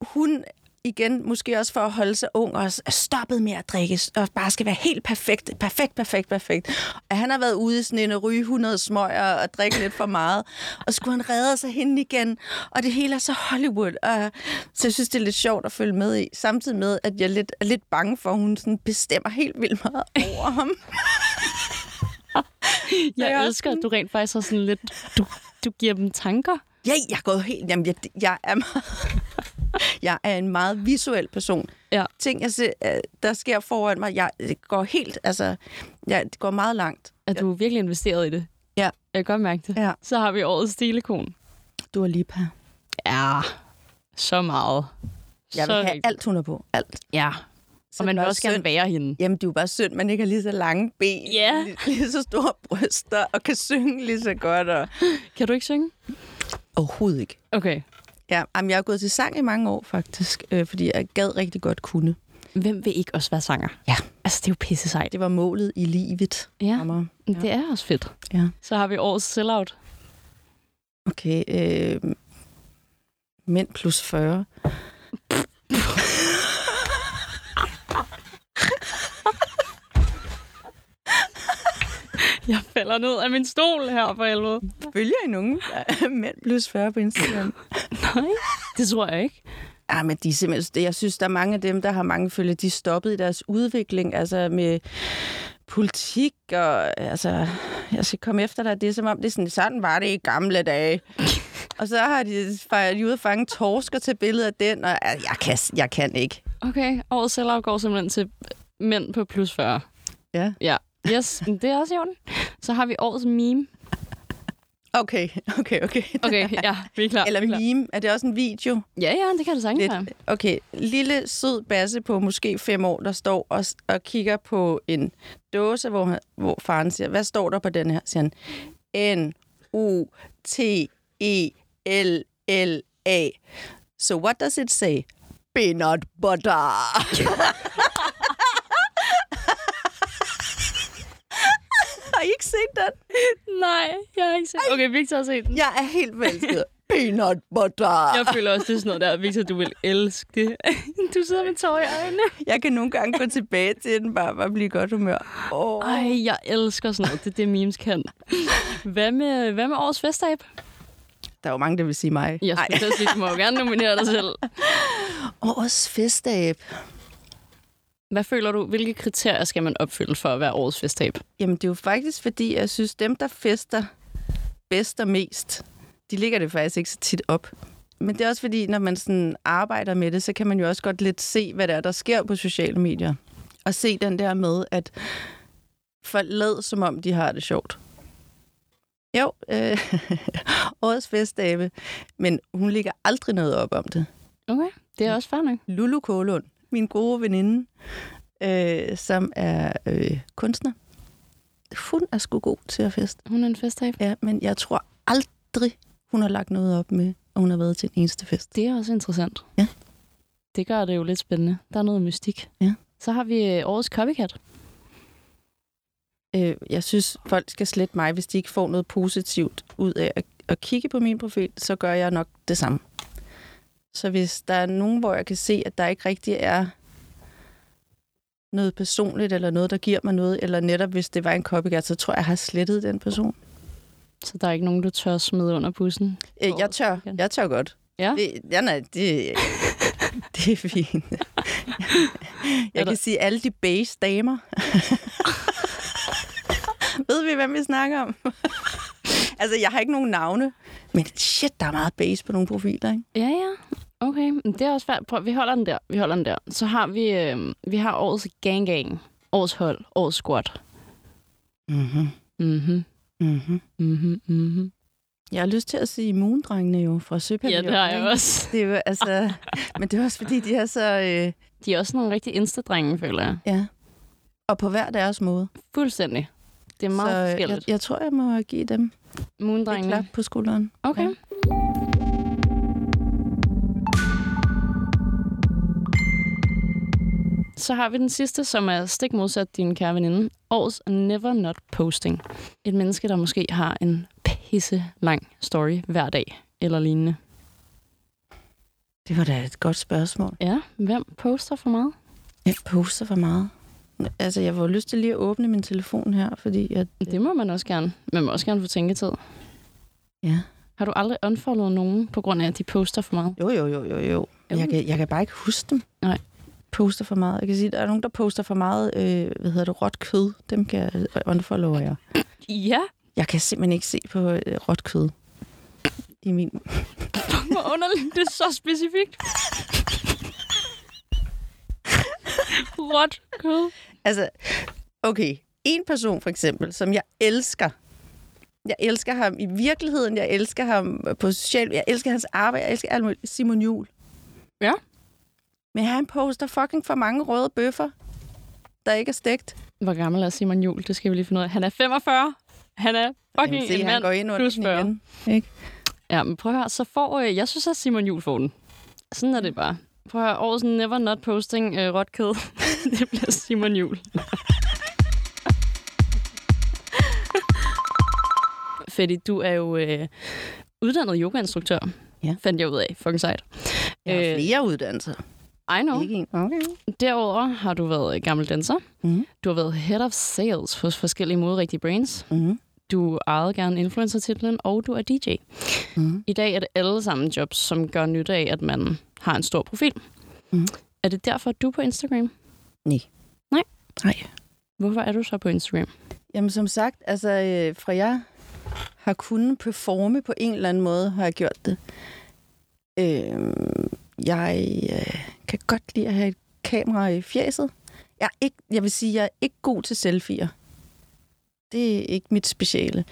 [SPEAKER 2] hun igen, måske også for at holde sig ung, også er stoppet med at drikke, og bare skal være helt perfekt, perfekt, perfekt, perfekt. Og han har været ude i sådan en at ryge 100 smøger og drikke lidt for meget, og skulle han redde sig hende igen, og det hele er så Hollywood. Og, så jeg synes, det er lidt sjovt at følge med i, samtidig med, at jeg lidt, er lidt bange for, at hun sådan bestemmer helt vildt meget over ham.
[SPEAKER 10] Jeg,
[SPEAKER 2] jeg er
[SPEAKER 10] elsker, at du rent faktisk har sådan lidt... Du, du giver dem tanker.
[SPEAKER 2] Ja, jeg er gået helt... Jamen, jeg, jeg, er, meget- jeg er en meget visuel person.
[SPEAKER 10] Ja.
[SPEAKER 2] Ting, jeg ser, øh, der sker foran mig, jeg det går helt... Altså, jeg det går meget langt.
[SPEAKER 10] At du er virkelig investeret i det.
[SPEAKER 2] Ja.
[SPEAKER 10] Jeg kan godt mærke det.
[SPEAKER 2] Ja.
[SPEAKER 10] Så har vi årets stilekon.
[SPEAKER 2] Du er lige på.
[SPEAKER 10] Ja, så meget.
[SPEAKER 2] Jeg vil
[SPEAKER 10] så
[SPEAKER 2] have
[SPEAKER 10] rigtigt.
[SPEAKER 2] alt, hun er på. Alt.
[SPEAKER 10] Ja, og man vil også gerne
[SPEAKER 2] synd.
[SPEAKER 10] være hende.
[SPEAKER 2] Jamen, det er jo bare synd, man ikke har lige så lange ben,
[SPEAKER 10] Ja.
[SPEAKER 2] lige, lige så store bryster, og kan synge lige så godt. Og...
[SPEAKER 10] Kan du ikke synge?
[SPEAKER 2] Overhovedet ikke.
[SPEAKER 10] Okay.
[SPEAKER 2] Ja, jamen, jeg har gået til sang i mange år, faktisk, øh, fordi jeg gad rigtig godt kunne.
[SPEAKER 10] Hvem vil ikke også være sanger?
[SPEAKER 2] Ja.
[SPEAKER 10] Altså, det er jo pisse sejt.
[SPEAKER 2] Det var målet i livet.
[SPEAKER 10] Ja,
[SPEAKER 2] Amager.
[SPEAKER 10] det er også fedt.
[SPEAKER 2] Ja.
[SPEAKER 10] Så har vi årets sellout.
[SPEAKER 2] Okay, øh, mænd plus 40.
[SPEAKER 10] Jeg falder ned af min stol her for helvede.
[SPEAKER 2] Følger I nogen mænd plus 40 på Instagram?
[SPEAKER 10] Nej, det tror jeg ikke.
[SPEAKER 2] Ja, men de er simpelthen, det- jeg synes, der er mange af dem, der har mange følger, de er stoppet i deres udvikling, altså med politik og, altså, jeg skal komme efter dig, det er som om, det er sådan, sådan var det i gamle dage. og så har de, fa- de er ude at fange torsker til billedet af den, og ja, jeg kan, jeg kan ikke.
[SPEAKER 10] Okay, årets sellout går simpelthen til mænd på plus 40.
[SPEAKER 2] Ja.
[SPEAKER 10] Ja. Yes, men det er også i orden. Så har vi årets meme.
[SPEAKER 2] Okay, okay, okay.
[SPEAKER 10] Okay, ja, vi er klar.
[SPEAKER 2] Eller
[SPEAKER 10] vi er klar.
[SPEAKER 2] meme, er det også en video?
[SPEAKER 10] Ja, ja, det kan det sagtens være.
[SPEAKER 2] lidt, okay, lille sød basse på måske fem år, der står og, og kigger på en dåse, hvor, han- hvor faren siger, hvad står der på den her? Siger han, N-U-T-E-L-L-A. So what does it say? Peanut butter. Har I ikke set den?
[SPEAKER 10] Nej, jeg har ikke set Okay, Victor har set den.
[SPEAKER 2] Jeg er helt forelsket. Peanut butter.
[SPEAKER 10] Jeg føler også, det er sådan noget der, Victor, du vil elske det. Du sidder med tårer i øjnene.
[SPEAKER 2] Jeg kan nogle gange gå tilbage til den, bare for at blive i godt humør. Oh.
[SPEAKER 10] Ej, jeg elsker sådan noget. Det er det, memes kan. Hvad med, hvad med årets festab?
[SPEAKER 2] Der er jo mange, der vil sige mig.
[SPEAKER 10] Jeg skulle til at sige, du må jo gerne nominere dig selv.
[SPEAKER 2] Årets festab.
[SPEAKER 10] Hvad føler du, hvilke kriterier skal man opfylde for at være årets festab?
[SPEAKER 2] Jamen, det er jo faktisk, fordi jeg synes, dem, der fester bedst og mest, de ligger det faktisk ikke så tit op. Men det er også fordi, når man sådan arbejder med det, så kan man jo også godt lidt se, hvad der er, der sker på sociale medier. Og se den der med, at folk lad, som om de har det sjovt. Jo, øh, årets festabe, men hun ligger aldrig noget op om det.
[SPEAKER 10] Okay, det er også fair nok.
[SPEAKER 2] Lulu Kålund, min gode veninde, øh, som er øh, kunstner. Hun er sgu god til at feste.
[SPEAKER 10] Hun er en festab.
[SPEAKER 2] Ja, men jeg tror aldrig, hun har lagt noget op med, at hun har været til en eneste fest.
[SPEAKER 10] Det er også interessant.
[SPEAKER 2] Ja.
[SPEAKER 10] Det gør det jo lidt spændende. Der er noget mystik.
[SPEAKER 2] Ja.
[SPEAKER 10] Så har vi øh, årets copycat.
[SPEAKER 2] Øh, jeg synes, folk skal slette mig, hvis de ikke får noget positivt ud af at, at kigge på min profil, så gør jeg nok det samme. Så hvis der er nogen, hvor jeg kan se, at der ikke rigtig er noget personligt, eller noget, der giver mig noget, eller netop hvis det var en copycat, så tror jeg, jeg har slettet den person.
[SPEAKER 10] Så der er ikke nogen, du tør smide under bussen.
[SPEAKER 2] Øh,
[SPEAKER 10] Årets
[SPEAKER 2] jeg tør.
[SPEAKER 10] weekend.
[SPEAKER 2] Jeg tør godt.
[SPEAKER 10] Ja.
[SPEAKER 2] Det, ja, nej, det, det er fint.
[SPEAKER 10] Er
[SPEAKER 2] Jeg
[SPEAKER 10] der-
[SPEAKER 2] kan sige alle de base damer. Ved vi, hvem vi snakker om? altså, jeg har ikke nogen navne, men shit, der er meget base på nogle profiler, ikke?
[SPEAKER 10] Ja, ja. Okay, men det er også svært. Prøv, vi holder den der. Vi holder den der. Så har vi, øh, vi har årets gang gang, årets hold, årets squat.
[SPEAKER 2] Mm-hmm.
[SPEAKER 10] Mhm,
[SPEAKER 2] Mm-hmm.
[SPEAKER 10] mhm, mhm.
[SPEAKER 2] Jeg har lyst til at sige Moondrengene jo fra
[SPEAKER 10] Ja,
[SPEAKER 2] Søpavillon.
[SPEAKER 10] det har jeg
[SPEAKER 2] ikke?
[SPEAKER 10] også.
[SPEAKER 2] Det er jo, altså, men det er også fordi, de er så... Øh,
[SPEAKER 10] De er også nogle rigtig instadrenge, føler jeg.
[SPEAKER 2] ja. Og på hver deres måde.
[SPEAKER 10] Fuldstændig. Det er meget
[SPEAKER 2] så øh, jeg,
[SPEAKER 10] forskelligt.
[SPEAKER 2] jeg tror, jeg må give dem et klap
[SPEAKER 10] Moondrengene.
[SPEAKER 2] på skulderen.
[SPEAKER 10] Okay. Så har vi den sidste, som er stik modsat din kære veninde. Års Never Not Posting. Et menneske, der måske har en pisse lang story hver dag eller lignende.
[SPEAKER 2] Det var da et godt spørgsmål.
[SPEAKER 10] Ja, hvem poster for meget?
[SPEAKER 2] Jeg poster for meget. Altså, jeg får lyst til lige at åbne min telefon her, fordi at...
[SPEAKER 10] Det må man også gerne. Man må også gerne få tænketid.
[SPEAKER 2] Ja.
[SPEAKER 10] Har du aldrig unfollowet nogen, på grund af, at de poster for meget?
[SPEAKER 2] Jo, jo, jo, jo, jo. Men Jeg kan, jeg kan bare ikke huske dem.
[SPEAKER 10] Nej.
[SPEAKER 2] Poster for meget. Jeg kan sige, der er nogen, der poster for meget, øh, hvad hedder det, råt kød. Dem kan jeg unfollower jeg.
[SPEAKER 10] Ja,
[SPEAKER 2] Jeg kan simpelthen ikke se på øh, råt kød. I min...
[SPEAKER 10] hvor underligt. Det er så specifikt. What? Kød?
[SPEAKER 2] Altså, okay. En person for eksempel, som jeg elsker. Jeg elsker ham i virkeligheden. Jeg elsker ham på social... Jeg elsker hans arbejde. Jeg elsker alt muligt. Simon Jul.
[SPEAKER 10] Ja.
[SPEAKER 2] Men han poster fucking for mange røde bøffer, der ikke er stegt.
[SPEAKER 10] Hvor gammel er Simon Jul? Det skal vi lige finde ud af. Han er 45. Han er fucking
[SPEAKER 2] Jamen, se,
[SPEAKER 10] en
[SPEAKER 2] han
[SPEAKER 10] mand.
[SPEAKER 2] går ind under
[SPEAKER 10] plus
[SPEAKER 2] den
[SPEAKER 10] 40.
[SPEAKER 2] igen. Ikke?
[SPEAKER 10] Ja, men prøv at høre, så får... Øh, jeg synes, at Simon Jul får den. Sådan er det bare. Prøv at høre, årets never not posting øh, råt kød. det bliver Simon Jul. Fordi du er jo øh, uddannet yogainstruktør.
[SPEAKER 2] Ja.
[SPEAKER 10] Fandt jeg ud af. Fucking sejt.
[SPEAKER 2] Jeg
[SPEAKER 10] Øh.
[SPEAKER 2] har flere uddannelser.
[SPEAKER 10] I know.
[SPEAKER 2] Ikke en. Okay.
[SPEAKER 10] Derudover har du været øh, gammel danser.
[SPEAKER 2] Mhm.
[SPEAKER 10] Du har været head of sales hos forskellige moderigtige brands.
[SPEAKER 2] Mhm.
[SPEAKER 10] Du ejede gerne influencer-titlen, og du er DJ.
[SPEAKER 2] Mhm.
[SPEAKER 10] I dag er det alle sammen jobs, som gør nytte af, at man har en stor profil.
[SPEAKER 2] Mhm.
[SPEAKER 10] Er det derfor, at du er på Instagram?
[SPEAKER 2] Nej.
[SPEAKER 10] Nej?
[SPEAKER 2] Nej.
[SPEAKER 10] Hvorfor er du så på Instagram?
[SPEAKER 2] Jamen som sagt, altså øh, fra jeg har kunnet performe på en eller anden måde, har jeg gjort det. Øh, jeg øh, kan godt lide at have et kamera i fjeset. Jeg, er ikke, jeg vil sige, jeg er ikke god til selfier. Det er ikke mit speciale.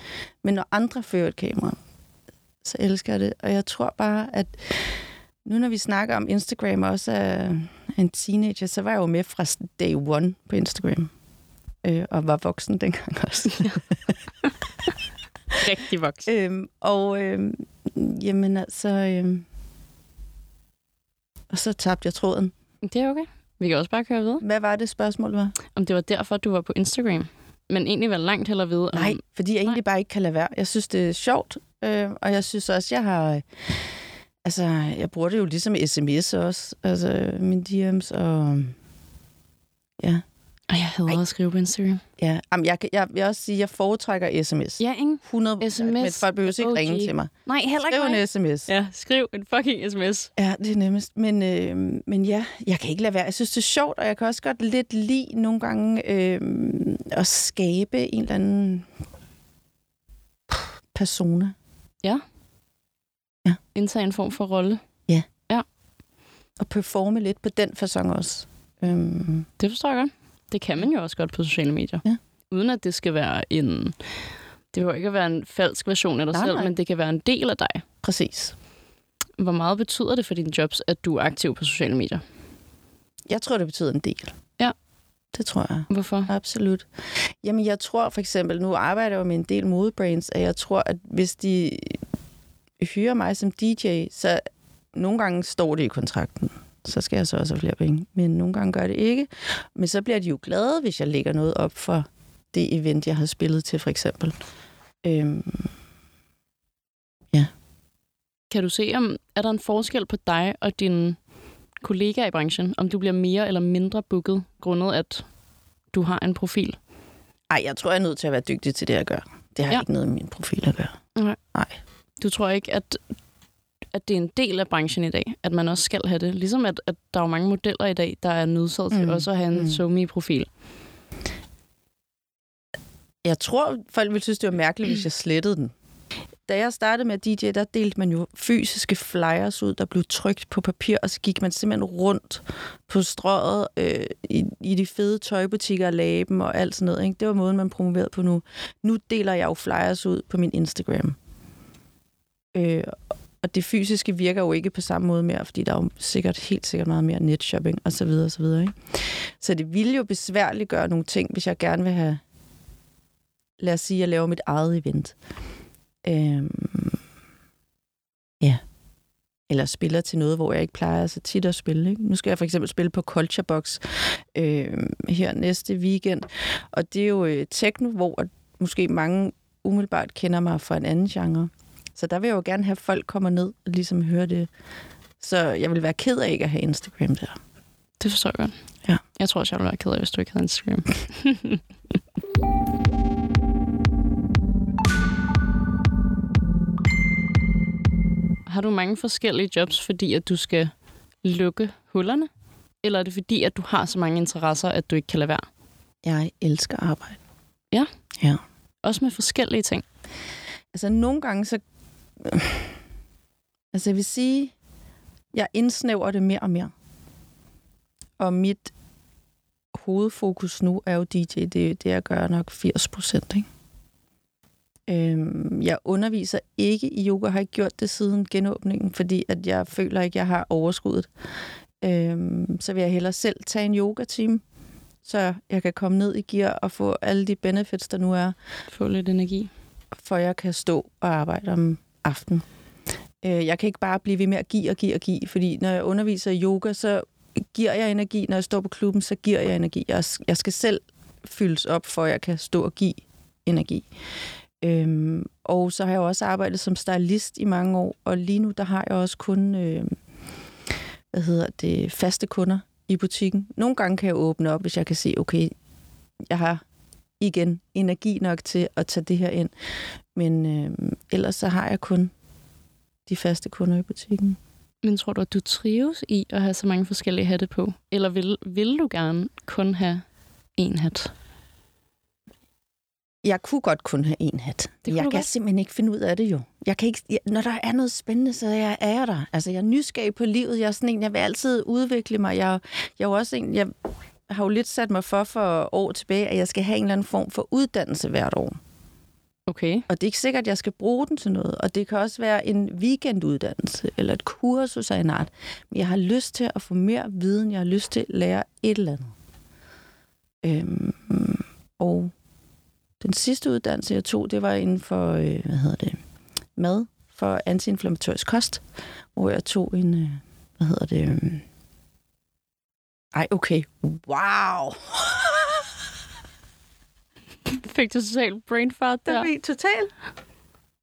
[SPEAKER 2] Men når andre fører et kamera, så elsker jeg det. Og jeg tror bare, at nu når vi snakker om Instagram også er er en teenager, så var jeg jo med fra day one på Instagram. Øh, og var voksen dengang også.
[SPEAKER 10] Rigtig voksen.
[SPEAKER 2] Øhm, og øhm, jamen altså... Øhm, og så tabte jeg tråden.
[SPEAKER 10] Det er okay. Vi kan også bare køre videre.
[SPEAKER 2] Hvad var det spørgsmål var?
[SPEAKER 10] Om det var derfor, du var på Instagram. Men egentlig var langt hellere vide, om
[SPEAKER 2] Nej, fordi jeg
[SPEAKER 10] Mm. nej.
[SPEAKER 2] egentlig bare ikke kan lade være. Jeg synes, det er sjovt, øh, og jeg synes også, jeg har... øh, Altså, jeg bruger det jo ligesom i sms også. Altså, øh, mine DM's og... Ja,
[SPEAKER 10] Og jeg hader at skrive på Instagram.
[SPEAKER 2] ja. Jamen, jeg, kan- jeg vil også sige, at jeg foretrækker sms.
[SPEAKER 10] Ja, ingen.
[SPEAKER 2] 100
[SPEAKER 10] SMS,
[SPEAKER 2] Men folk behøver ikke
[SPEAKER 10] OG.
[SPEAKER 2] ringe til mig.
[SPEAKER 10] Nej, heller ikke
[SPEAKER 2] Skriv
[SPEAKER 10] mig.
[SPEAKER 2] en sms.
[SPEAKER 10] Ja, skriv en fucking sms.
[SPEAKER 2] Ja, det er nemmest. Men, øh, men ja, jeg kan ikke lade være. Jeg synes, det er sjovt, og jeg kan også godt lidt lide nogle gange øh, at skabe en eller anden persona.
[SPEAKER 10] Indtage en form for rolle.
[SPEAKER 2] Og performe lidt på den façon også. Øhm,
[SPEAKER 10] Det forstår jeg godt. Det kan man jo også godt på sociale medier.
[SPEAKER 2] Ja.
[SPEAKER 10] Uden at det skal være en... Det behøver ikke at være en falsk version af dig
[SPEAKER 2] Nej,
[SPEAKER 10] selv,
[SPEAKER 2] nej.
[SPEAKER 10] men det kan være en del af dig.
[SPEAKER 2] præcis.
[SPEAKER 10] Hvor meget betyder det for dine jobs, at du er aktiv på sociale medier?
[SPEAKER 2] Jeg tror, det betyder en del.
[SPEAKER 10] Ja.
[SPEAKER 2] Det tror jeg.
[SPEAKER 10] Hvorfor?
[SPEAKER 2] Absolut. Jamen, jeg tror for eksempel, nu arbejder jeg jo med en del modebrands, at jeg tror, at hvis de hyrer mig som DJ, så nogle gange står det i kontrakten. Så skal jeg så også have flere penge. Men nogle gange gør det ikke. Men så bliver de jo glade, hvis jeg lægger noget op for det event, jeg har spillet til, for eksempel. Øhm,
[SPEAKER 10] Kan du se, om er der en forskel på dig og dine kollegaer i branchen? Om du bliver mere eller mindre booket, grundet at du har en profil?
[SPEAKER 2] ej, jeg tror, jeg er nødt til at være dygtig til det, jeg gør. Det har
[SPEAKER 10] Ja.
[SPEAKER 2] ja. ikke noget med min profil at gøre.
[SPEAKER 10] Du tror ikke, at, at det er en del af branchen i dag, at man også skal have det? Ligesom at, at der er jo mange modeller i dag, der er nødsaget til
[SPEAKER 2] Mm.
[SPEAKER 10] også at have en
[SPEAKER 2] Mm.
[SPEAKER 10] mm. profil
[SPEAKER 2] Jeg tror, folk ville synes, det var mærkeligt, hvis jeg slettede den. Da jeg startede med at DJ, der delte man jo fysiske flyers ud, der blev trykt på papir, og så gik man simpelthen rundt på strøget øh, i, i de fede tøjbutikker og lagde dem og alt sådan noget. Ikke? Det var måden, man promoverede på nu. Nu deler jeg jo flyers ud på min Instagram. Øh, og det fysiske virker jo ikke på samme måde mere, fordi der er jo sikkert, helt sikkert meget mere netshopping osv. Så, videre, og så, videre, ikke? så det ville jo besværligt gøre nogle ting, hvis jeg gerne vil have, lad os sige, at jeg laver mit eget event. Øhm, ja. Eller spiller til noget, hvor jeg ikke plejer så tit at spille. Ikke? Nu skal jeg for eksempel spille på Culture Box øh, her næste weekend. Og det er jo øh, techno, hvor at måske mange umiddelbart kender mig fra en anden genre. Så der vil jeg jo gerne have, at folk kommer ned og ligesom hører det. Så jeg vil være ked af ikke at have Instagram der.
[SPEAKER 10] Det forstår jeg godt.
[SPEAKER 2] Ja.
[SPEAKER 10] Jeg tror også, jeg ville være ked af, hvis du ikke havde Instagram. Har du mange forskellige jobs, fordi at du skal lukke hullerne? Eller er det fordi, at du har så mange interesser, at du ikke kan lade være?
[SPEAKER 2] Jeg elsker arbejde.
[SPEAKER 10] Ja.
[SPEAKER 2] Ja.
[SPEAKER 10] Også med forskellige ting.
[SPEAKER 2] Altså nogle gange så... øh, Altså jeg vil sige, jeg indsnæver det mere og mere. Og mit hovedfokus nu er jo DJ. Det, er- det jeg gør nok 80 procent, ikke? Øhm, jeg underviser ikke i yoga, har ikke gjort det siden genåbningen, fordi at jeg føler ikke, jeg har overskuddet. Øhm, så vil jeg hellere selv tage en yoga-team, så jeg kan komme ned i gear og få alle de benefits, der nu er
[SPEAKER 10] Få lidt energi.
[SPEAKER 2] for jeg kan stå og arbejde om aftenen. Øh, Jeg kan ikke bare blive ved med at give og give og give, fordi når jeg underviser i yoga, så giver jeg energi. Når jeg står på klubben, så giver jeg energi. Jeg, jeg skal selv fyldes op, for at jeg kan stå og give energi. Øhm, og så har jeg jo også arbejdet som stylist i mange år, og lige nu der har jeg også kun øh, hvad hedder det, faste kunder i butikken. Nogle gange kan jeg åbne op, hvis jeg kan se, okay, jeg har igen energi nok til at tage det her ind. Men øh, ellers så har jeg kun de faste kunder i butikken.
[SPEAKER 10] Men tror du, at du trives i at have så mange forskellige hatte på? Eller vil, vil du gerne kun have én hat?
[SPEAKER 2] Jeg kunne godt kun have en hat.
[SPEAKER 10] kunne
[SPEAKER 2] jeg
[SPEAKER 10] du
[SPEAKER 2] kan
[SPEAKER 10] godt.
[SPEAKER 2] simpelthen ikke finde ud af det jo. Jeg kan ikke, jeg, når der er noget spændende, så er jeg, er jeg der. Altså, jeg er nysgerrig på livet. Jeg er sådan en, jeg vil altid udvikle mig. Jeg, jeg er jo også en, jeg har jo lidt sat mig for for år tilbage, at jeg skal have en eller anden form for uddannelse hvert år.
[SPEAKER 10] Okay.
[SPEAKER 2] Og det er ikke sikkert, at jeg skal bruge den til noget. Og det kan også være en weekenduddannelse, eller et kursus af en art. Men jeg har lyst til at få mere viden. Jeg har lyst til at lære et eller andet. Øhm, og den sidste uddannelse, jeg tog, det var inden for, øh, hvad hedder det, mad for antiinflammatorisk kost, hvor jeg tog en, øh, hvad hedder det, øh, ej, okay, wow!
[SPEAKER 10] Fik du social brain fart der?
[SPEAKER 2] vi totalt.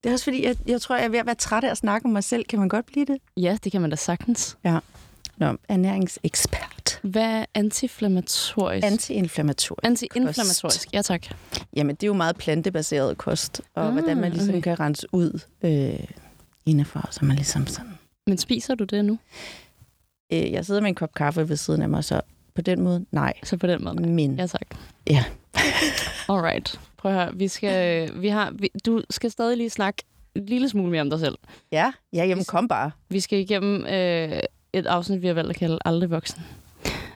[SPEAKER 2] Det er også fordi, jeg, jeg tror, jeg er ved at være træt af at snakke om mig selv. Kan man godt blive det?
[SPEAKER 10] Ja, det kan man da sagtens.
[SPEAKER 2] Nå, ernæringsekspert.
[SPEAKER 10] Hvad er antiinflammatorisk?
[SPEAKER 2] Antiinflammatorisk.
[SPEAKER 10] Antiinflammatorisk, ja tak.
[SPEAKER 2] Jamen, det er jo meget plantebaseret kost, og
[SPEAKER 10] Ah,
[SPEAKER 2] mm, hvordan man ligesom
[SPEAKER 10] okay.
[SPEAKER 2] okay. kan rense ud øh, indenfor, så man ligesom sådan...
[SPEAKER 10] Men spiser du det nu?
[SPEAKER 2] Øh, jeg sidder med en kop kaffe ved siden af mig, så på den måde, nej.
[SPEAKER 10] Så på den måde? nej.
[SPEAKER 2] Men
[SPEAKER 10] Ja tak.
[SPEAKER 2] Ja.
[SPEAKER 10] Alright. Prøv at høre, vi skal, vi har, vi, du skal stadig lige snakke en lille smule mere om dig selv.
[SPEAKER 2] ja, ja jamen, kom bare.
[SPEAKER 10] Vi skal igennem øh, et afsnit, vi har valgt at kalde Aldrig Voksen.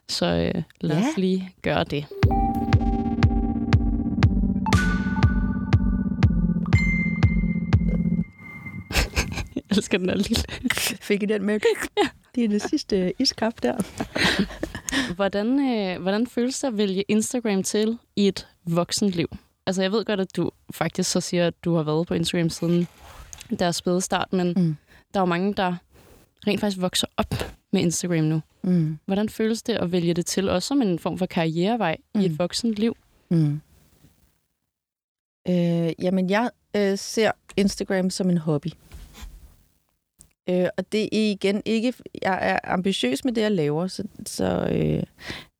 [SPEAKER 10] Så øh, lad
[SPEAKER 2] Ja.
[SPEAKER 10] os lige gøre det. Jeg elsker den her lille.
[SPEAKER 2] Fik I den med? Det er det sidste iskaffe der.
[SPEAKER 10] Hvordan, øh, hvordan føles det at vælge Instagram til i et voksenliv? Altså, jeg ved godt, at du faktisk så siger, at du har været på Instagram siden deres spæde start, men mm.
[SPEAKER 2] Mm.
[SPEAKER 10] der er jo mange, der rent faktisk vokser op med Instagram nu.
[SPEAKER 2] Mm,
[SPEAKER 10] Hvordan føles det at vælge det til, også som en form for karrierevej mm. i et
[SPEAKER 2] Mm.
[SPEAKER 10] voksent liv?
[SPEAKER 2] mm. Øh, jamen, jeg øh, ser Instagram som en hobby. Øh, og det er igen ikke... Jeg er ambitiøs med det, jeg laver, så, så øh, det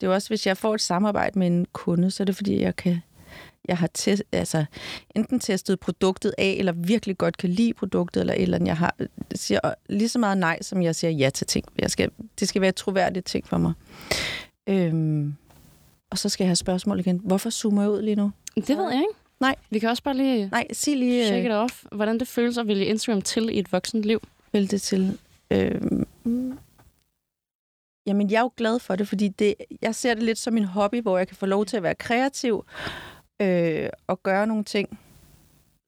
[SPEAKER 2] er jo også, hvis jeg får et samarbejde med en kunde, så er det fordi, jeg kan... Jeg har test, altså, enten testet produktet af, eller virkelig godt kan lide produktet, eller et eller andet. Jeg har, siger lige så meget nej, som jeg siger ja til ting. Jeg skal, det skal være et troværdigt ting for mig. Øhm, og så skal jeg have spørgsmål igen. Hvorfor zoomer jeg ud lige nu?
[SPEAKER 10] Det ved jeg ikke.
[SPEAKER 2] Nej.
[SPEAKER 10] Vi kan også bare lige
[SPEAKER 2] Nej, sig
[SPEAKER 10] yeah.
[SPEAKER 2] lige,
[SPEAKER 10] check
[SPEAKER 2] øh,
[SPEAKER 10] it off, hvordan det føles at vælge Instagram til i et voksent liv.
[SPEAKER 2] vælge det til. Øhm, jamen, jeg er jo glad for det, fordi det, jeg ser det lidt som en hobby, hvor jeg kan få lov til at være kreativ øh, og gøre nogle ting,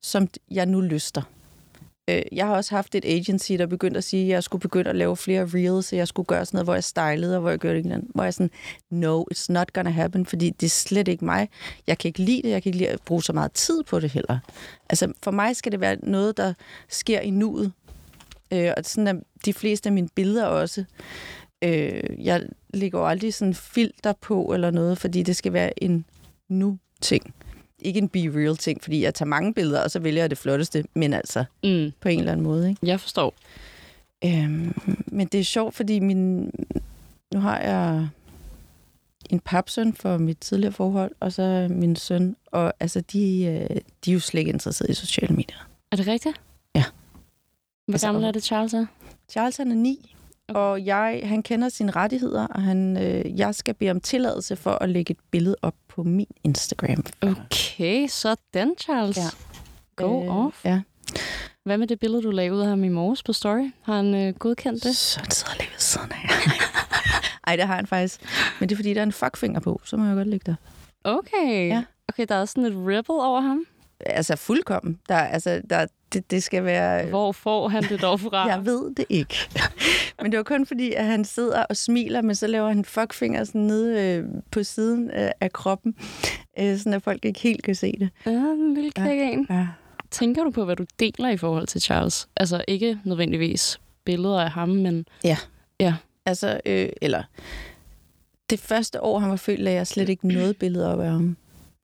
[SPEAKER 2] som jeg nu lyster. øh, jeg har også haft et agency, der begyndte at sige, at jeg skulle begynde at lave flere reels, så jeg skulle gøre sådan noget, hvor jeg stylede, og hvor jeg gjorde det andet. Hvor jeg sådan, no, it's not gonna happen, fordi det er slet ikke mig. Jeg kan ikke lide det, jeg kan ikke lide at bruge så meget tid på det heller. Altså, for mig skal det være noget, der sker i nuet. Øh, og sådan er de fleste af mine billeder også. Øh, jeg lægger jo aldrig sådan filter på eller noget, fordi det skal være en nu-ting. Ikke en be-real-ting, fordi jeg tager mange billeder, og så vælger jeg det flotteste, men altså
[SPEAKER 10] Mm,
[SPEAKER 2] på en eller anden måde. Ikke?
[SPEAKER 10] jeg forstår.
[SPEAKER 2] Øhm, men det er sjovt, fordi min, nu har jeg en papsøn for mit tidligere forhold, og så min søn, og altså, de, øh, de er jo slet ikke interesserede i sociale medier.
[SPEAKER 10] Er det rigtigt?
[SPEAKER 2] Ja.
[SPEAKER 10] Hvor
[SPEAKER 2] Altså,
[SPEAKER 10] gammel
[SPEAKER 2] og-
[SPEAKER 10] er det, Charles er?
[SPEAKER 2] Charles han er 9, okay. og jeg, han kender sine rettigheder, og han, øh, jeg skal bede om tilladelse for at lægge et billede op på min Instagram.
[SPEAKER 10] Okay, sådan, Charles.
[SPEAKER 2] Ja.
[SPEAKER 10] Go
[SPEAKER 2] Øh,
[SPEAKER 10] off.
[SPEAKER 2] Ja.
[SPEAKER 10] Hvad med det billede, du lagde ud af ham i morges på story? Har han øh, godkendt det?
[SPEAKER 2] Så han sidder lige ved siden af. Ej, det har han faktisk. Men det er, fordi der er en fuckfinger på, så må jeg godt lægge det op.
[SPEAKER 10] Okay.
[SPEAKER 2] Ja.
[SPEAKER 10] Okay, der er sådan et ripple over ham.
[SPEAKER 2] Altså, fuldkommen. Der, altså, der, det, det skal være...
[SPEAKER 10] Hvor får han det dog fra?
[SPEAKER 2] Jeg ved det ikke. men det var kun fordi, at han sidder og smiler, men så laver han fuckfinger sådan nede øh, på siden øh, af kroppen, øh, sådan at folk ikke helt kan se det.
[SPEAKER 10] Ja, en lille kæk en.
[SPEAKER 2] Ja.
[SPEAKER 10] Tænker du på, hvad du deler i forhold til Charles? Altså ikke nødvendigvis billeder af ham, men
[SPEAKER 2] Altså, øh, eller... Det første år, han var født, lagde jeg slet ikke noget billede op af ham.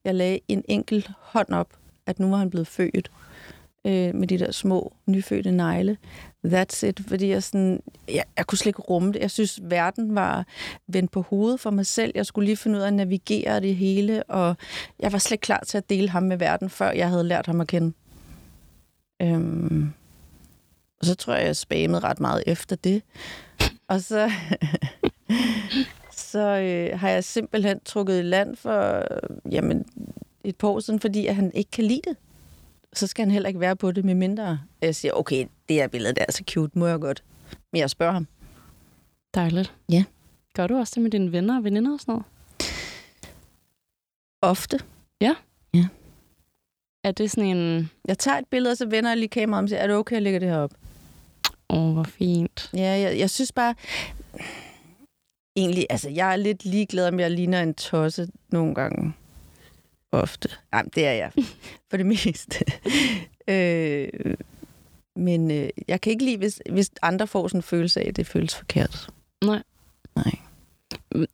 [SPEAKER 2] Jeg lagde en enkelt hånd op, at nu var han blevet født øh, med de der små, nyfødte negle. That's it, fordi jeg, sådan, jeg, jeg kunne slet ikke rumme det. Jeg synes, verden var vendt på hovedet for mig selv. Jeg skulle lige finde ud af at navigere det hele, og jeg var slet ikke klar til at dele ham med verden, før jeg havde lært ham at kende. Øhm, og så tror jeg, jeg spammede ret meget efter det. Og så, så øh, har jeg simpelthen trukket i land for øh, jamen, et par år siden, fordi at han ikke kan lide det. Så skal han heller ikke være på det, med mindre jeg siger, okay, det her billede der er så cute, må jeg godt. Men jeg spørger ham.
[SPEAKER 10] dejligt.
[SPEAKER 2] Ja.
[SPEAKER 10] Gør du også det med dine venner og veninder og sådan noget?
[SPEAKER 2] Ofte.
[SPEAKER 10] Er det sådan en,
[SPEAKER 2] Jeg tager et billede, og så vender jeg lige kameraet om og siger, er det okay, jeg lægger det her op?
[SPEAKER 10] åh, oh, hvor fint.
[SPEAKER 2] Ja, jeg, jeg synes bare... Egentlig, altså, jeg er lidt ligeglad, om jeg ligner en tosse nogle gange. Ofte. Jamen, det er jeg. For det meste. øh, men øh, jeg kan ikke lide, hvis, hvis andre får sådan en følelse af, at det føles forkert.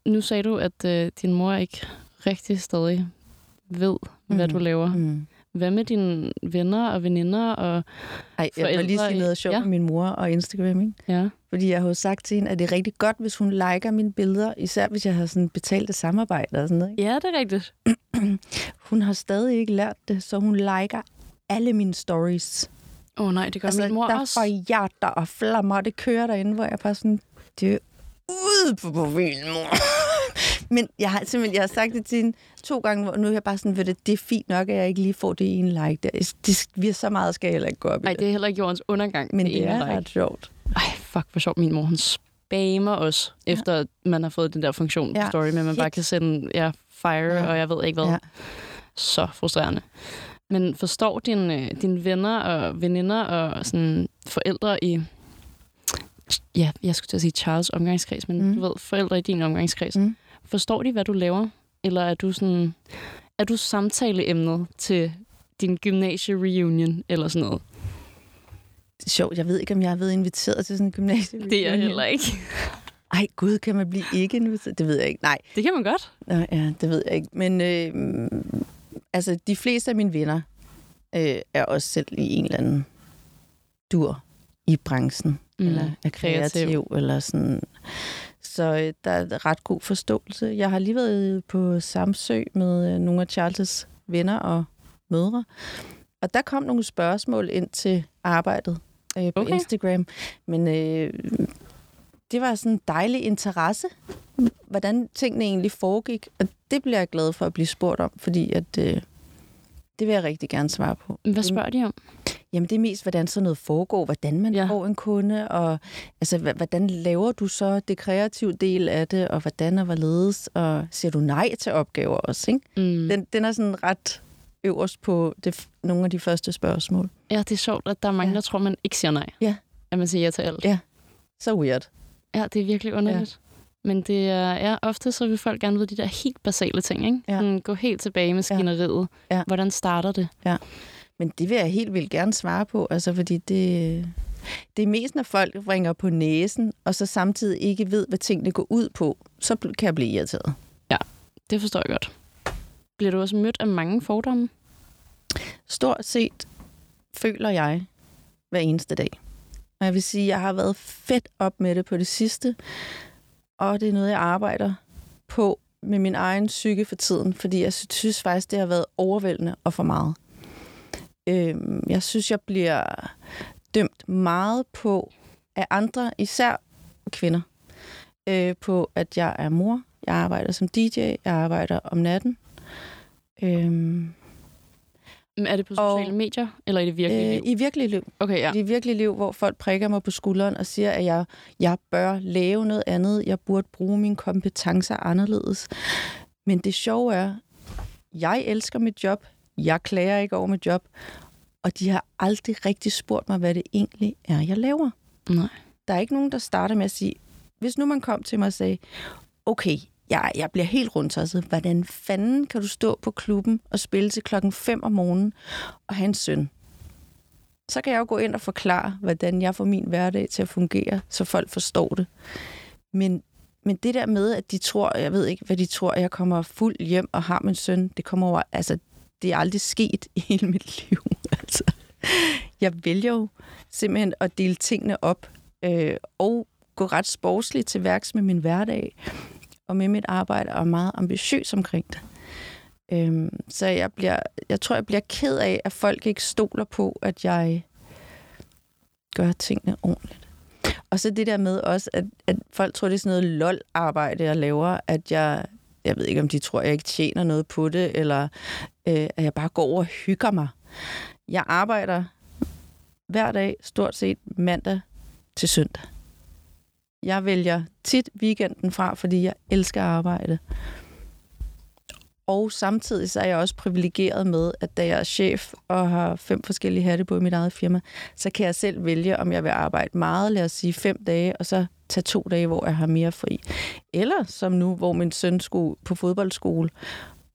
[SPEAKER 10] Nu sagde du, at øh, din mor ikke rigtig stadig ved, hvad
[SPEAKER 2] Mhm.
[SPEAKER 10] du laver.
[SPEAKER 2] Mm.
[SPEAKER 10] Hvad med dine venner og veninder? Og,
[SPEAKER 2] Ej, jeg må lige
[SPEAKER 10] Forældre-
[SPEAKER 2] sige noget sjovt
[SPEAKER 10] ja.
[SPEAKER 2] ja. med min mor og Instagram, ikke?
[SPEAKER 10] ja.
[SPEAKER 2] Fordi jeg har jo sagt til hende, at det er rigtig godt, hvis hun liker mine billeder, især hvis jeg har sådan betalt et samarbejde og sådan noget. Ikke?
[SPEAKER 10] ja, det er rigtigt.
[SPEAKER 2] Hun har stadig ikke lært det, så hun liker alle mine stories.
[SPEAKER 10] Åh oh, nej, det gør
[SPEAKER 2] Altså,
[SPEAKER 10] min mor
[SPEAKER 2] der
[SPEAKER 10] også.
[SPEAKER 2] får hjerter og flammer, og det kører derinde, hvor jeg bare sådan, det er ude på profilen, mor. Men jeg har simpelthen jeg har sagt det til hende to gange, hvor nu er jeg bare sådan, ved det, det er fint nok, at jeg ikke lige får det ene like der. Det, vi er så meget, skal jeg heller ikke gå op i
[SPEAKER 10] Nej,
[SPEAKER 2] det.
[SPEAKER 10] det er heller ikke jordens undergang.
[SPEAKER 2] Men det
[SPEAKER 10] ene
[SPEAKER 2] er
[SPEAKER 10] række.
[SPEAKER 2] ret sjovt.
[SPEAKER 10] Ej, fuck, hvor sjovt. Min mor, hun spammer os, ja. efter at man har fået den der funktion ja.
[SPEAKER 2] Ja,
[SPEAKER 10] story, men man
[SPEAKER 2] fedt.
[SPEAKER 10] bare kan sende ja, fire, ja.
[SPEAKER 2] Ja.
[SPEAKER 10] og jeg ved ikke hvad. Ja.
[SPEAKER 2] Ja.
[SPEAKER 10] Så frustrerende. Men forstår dine, dine venner og veninder og sådan forældre i... Ja, jeg skulle til at sige Charles omgangskreds, men mm.
[SPEAKER 2] Mm.
[SPEAKER 10] du ved, forældre i din omgangskreds. Mm.
[SPEAKER 2] Mm.
[SPEAKER 10] Forstår de, hvad du laver? Eller er du sådan... Er du samtaleemnet til din gymnasie-reunion eller sådan noget?
[SPEAKER 2] Det er sjovt. Jeg ved ikke, om jeg er blevet inviteret til sådan en gymnasium.
[SPEAKER 10] Det er jeg heller ikke.
[SPEAKER 2] Ej, gud, kan man blive ikke inviteret? Det ved jeg ikke. Nej,
[SPEAKER 10] Det kan man godt.
[SPEAKER 2] Nå, ja, det ved jeg ikke. Men øh, mm, altså, de fleste af mine venner øh, er også selv i en eller anden dur i branchen, mm. eller er kreativ,
[SPEAKER 10] kreativ.
[SPEAKER 2] kreativ, eller sådan. Så øh, der er ret god forståelse. Jeg har lige været på Samsø med øh, nogle af Charles' venner og mødre, og der kom nogle spørgsmål ind til arbejdet øh, på
[SPEAKER 10] Okay.
[SPEAKER 2] okay. Instagram. Men øh, det var sådan en dejlig interesse, hvordan tingene egentlig foregik. Og det bliver jeg glad for at blive spurgt om, fordi at, øh, det vil jeg rigtig gerne svare på.
[SPEAKER 10] Hvad spørger de om?
[SPEAKER 2] Jamen det er mest, hvordan sådan noget foregår, hvordan man
[SPEAKER 10] Ja.
[SPEAKER 2] ja. får en kunde, og altså, hva- hvordan laver du så det kreative del af det, og hvordan og hvorledes, og siger du nej til opgaver også, ikke?
[SPEAKER 10] Mm.
[SPEAKER 2] Den, den er sådan ret øverst på det, f- nogle af de første spørgsmål.
[SPEAKER 10] Ja, det er sjovt, at der er mange,
[SPEAKER 2] Ja.
[SPEAKER 10] der tror, man ikke siger nej.
[SPEAKER 2] Ja.
[SPEAKER 10] At man siger ja til alt.
[SPEAKER 2] Ja. Så weird.
[SPEAKER 10] Ja, det er virkelig underligt. Ja. Men det er, ja, ofte så vil folk gerne vide de der helt basale ting, ikke?
[SPEAKER 2] Ja.
[SPEAKER 10] Sådan, gå helt tilbage med skineriet.
[SPEAKER 2] Ja.
[SPEAKER 10] Hvordan starter det?
[SPEAKER 2] Men det vil jeg helt vildt gerne svare på, altså fordi det, det er mest, når folk ringer på næsen, og så samtidig ikke ved, hvad tingene går ud på, så bl- kan jeg blive irriteret.
[SPEAKER 10] Det forstår jeg godt. Bliver du også mødt af mange fordomme?
[SPEAKER 2] Stort set føler jeg hver eneste dag. Og jeg vil sige, at jeg har været fedt op med det på det sidste, og det er noget, jeg arbejder på med min egen psyke for tiden, fordi jeg sy- synes faktisk, det har været overvældende og for meget. Øhm, jeg synes, jeg bliver dømt meget på af andre, især kvinder, øh, på at jeg er mor, jeg arbejder som DJ, jeg arbejder om natten. Øhm,
[SPEAKER 10] Mm, Er det på
[SPEAKER 2] Og-
[SPEAKER 10] sociale og, medier, eller i det virkelige
[SPEAKER 2] øh,
[SPEAKER 10] liv?
[SPEAKER 2] I virkelig liv
[SPEAKER 10] Okay, ja.
[SPEAKER 2] ja. det virkelige liv, hvor folk prikker mig på skulderen og siger, at jeg, jeg bør lave noget andet, jeg burde bruge mine kompetencer anderledes. Men det sjove er, jeg elsker mit job, jeg klager ikke over mit job, og de har aldrig rigtig spurgt mig, hvad det egentlig er, jeg laver.
[SPEAKER 10] Nej.
[SPEAKER 2] Der er ikke nogen, der starter med at sige, hvis nu man kom til mig og sagde, okay, jeg, jeg bliver helt rundtosset. Hvordan fanden kan du stå på klubben og spille til klokken 5 om morgenen og have en søn? Så kan jeg jo gå ind og forklare, hvordan jeg får min hverdag til at fungere, så folk forstår det. Men, men det der med, at de tror, jeg ved ikke, hvad de tror, jeg kommer fuld hjem og har min søn, det kommer over, altså, det er aldrig sket i hele mit liv. Altså, jeg vælger jo simpelthen at dele tingene op øh, og gå ret sportsligt til værks med min hverdag og med mit arbejde og er meget ambitiøs omkring det. Øhm, så jeg, bliver, jeg tror, jeg bliver ked af, at folk ikke stoler på, at jeg gør tingene ordentligt. Og så det der med også, at, at folk tror, det er sådan noget lol-arbejde, jeg laver, at jeg, jeg ved ikke, om de tror, jeg ikke tjener noget på det, eller øh, at jeg bare går over og hygger mig. Jeg arbejder hver dag, stort set mandag til søndag. Jeg vælger tit weekenden fra, fordi jeg elsker at arbejde. Og samtidig så er jeg også privilegeret med, at da jeg er chef og har fem forskellige hatte på i mit eget firma, så kan jeg selv vælge, om jeg vil arbejde meget, lad os sige fem dage, og så tage to dage, hvor jeg har mere fri. Eller som nu, hvor min søn skulle på fodboldskole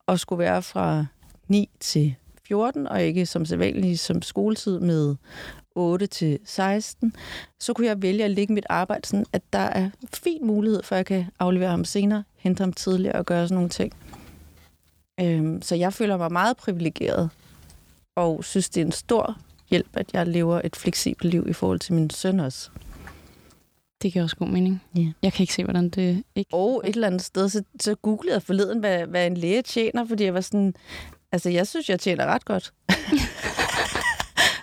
[SPEAKER 2] og skulle være fra 9 til 14, og ikke som sædvanligt som skoletid med 8 til 16, så kunne jeg vælge at lægge mit arbejde sådan, at der er fin mulighed for, at jeg kan aflevere ham senere, hente ham tidligere og gøre sådan nogle ting. Øhm, så jeg føler mig meget privilegeret, og synes, det er en stor hjælp, at jeg lever et fleksibelt liv i forhold til min søn også.
[SPEAKER 10] Det giver også god mening.
[SPEAKER 2] Ja.
[SPEAKER 10] Jeg kan ikke se, hvordan det ikke...
[SPEAKER 2] Og et eller andet sted, så, så googlede jeg forleden, hvad, hvad en læge tjener, fordi jeg var sådan, altså jeg synes, jeg tjener ret godt.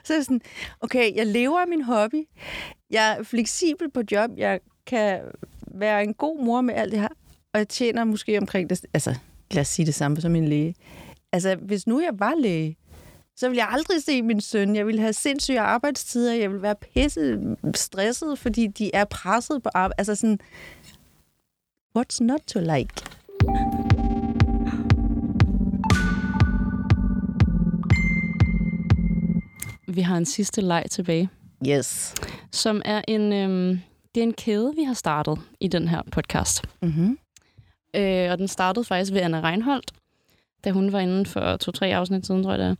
[SPEAKER 2] så er jeg sådan, okay, jeg lever af min hobby, jeg er fleksibel på job, jeg kan være en god mor med alt det her, og jeg tjener måske omkring det, altså lad os sige det samme som en læge. Altså hvis nu jeg var læge, så ville jeg aldrig se min søn. Jeg ville have sindssyge arbejdstider. Jeg ville være pisse stresset, fordi de er presset på arbejde. Altså sådan, What's not to like?
[SPEAKER 10] Vi har en sidste leg tilbage,
[SPEAKER 2] Yes.
[SPEAKER 10] som er en, øhm, det er en kæde, vi har startet i den her podcast.
[SPEAKER 2] Mm-hmm.
[SPEAKER 10] Øh, og den startede faktisk ved Anna Reinholdt, da hun var inde for to-tre afsnit siden, tror jeg det er.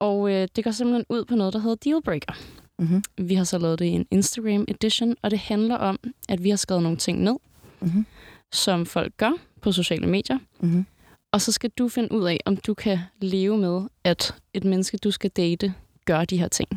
[SPEAKER 10] Og øh, det går simpelthen ud på noget, der hedder Dealbreaker.
[SPEAKER 2] Mhm.
[SPEAKER 10] Vi har så lavet det i en Instagram edition, og det handler om, at vi har skrevet nogle ting ned,
[SPEAKER 2] Mhm.
[SPEAKER 10] som folk gør på sociale medier.
[SPEAKER 2] Mhm.
[SPEAKER 10] Og så skal du finde ud af, om du kan leve med, at et menneske, du skal date, gør de her ting.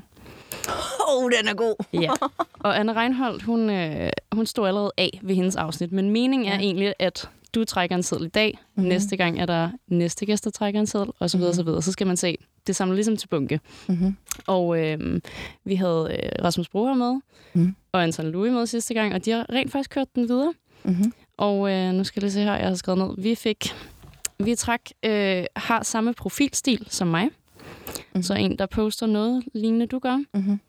[SPEAKER 2] Oh, den er god.
[SPEAKER 10] Ja. Og Anne Reinholdt, hun, øh, hun stod allerede af ved hendes afsnit, men meningen er
[SPEAKER 2] Ja. Mhm.
[SPEAKER 10] egentlig, at du trækker en seddel i dag, mm-hmm. næste gang er der næste gæst, der trækker en seddel, og så videre, så videre. Så skal man se, det samler ligesom til bunke.
[SPEAKER 2] Mhm.
[SPEAKER 10] Og øh, vi havde øh, Rasmus Broer med,
[SPEAKER 2] Mhm.
[SPEAKER 10] og Anton Louis med sidste gang, og de har rent faktisk kørt den videre.
[SPEAKER 2] Mm-hmm.
[SPEAKER 10] Og øh, nu skal jeg lige se her, jeg har skrevet ned. Vi fik, vi trak, øh, har samme profilstil som mig. Mm. Så en, der poster noget lignende, du gør.
[SPEAKER 2] Mhm.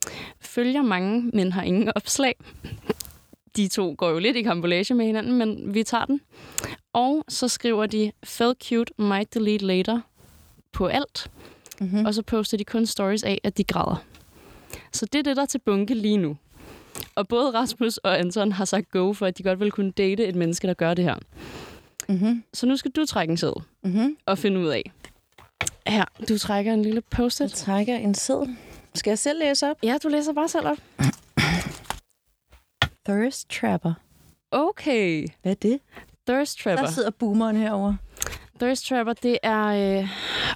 [SPEAKER 10] Følger mange, men har ingen opslag. De to går jo lidt i kambolage med hinanden, men vi tager den. Og så skriver de, felt cute, might delete later på alt. mm-hmm. og så poster de kun stories af, at de græder. Så det er det, der er til bunke lige nu. Og både Rasmus og Anton har sagt go for, at de godt vil kunne date et menneske, der gør det her.
[SPEAKER 2] Mm-hmm.
[SPEAKER 10] Så nu skal du trække en sæd
[SPEAKER 2] Mm-hmm.
[SPEAKER 10] og finde ud af. Her, du trækker en lille
[SPEAKER 2] Jeg
[SPEAKER 10] post-it.
[SPEAKER 2] trækker en seddel. Skal jeg selv læse op?
[SPEAKER 10] Ja, du læser bare selv op.
[SPEAKER 2] Thirst Trapper.
[SPEAKER 10] Okay.
[SPEAKER 2] Hvad er det?
[SPEAKER 10] Thirst Trapper.
[SPEAKER 2] Der sidder boomeren herover.
[SPEAKER 10] Thirst Trapper, det er... Øh,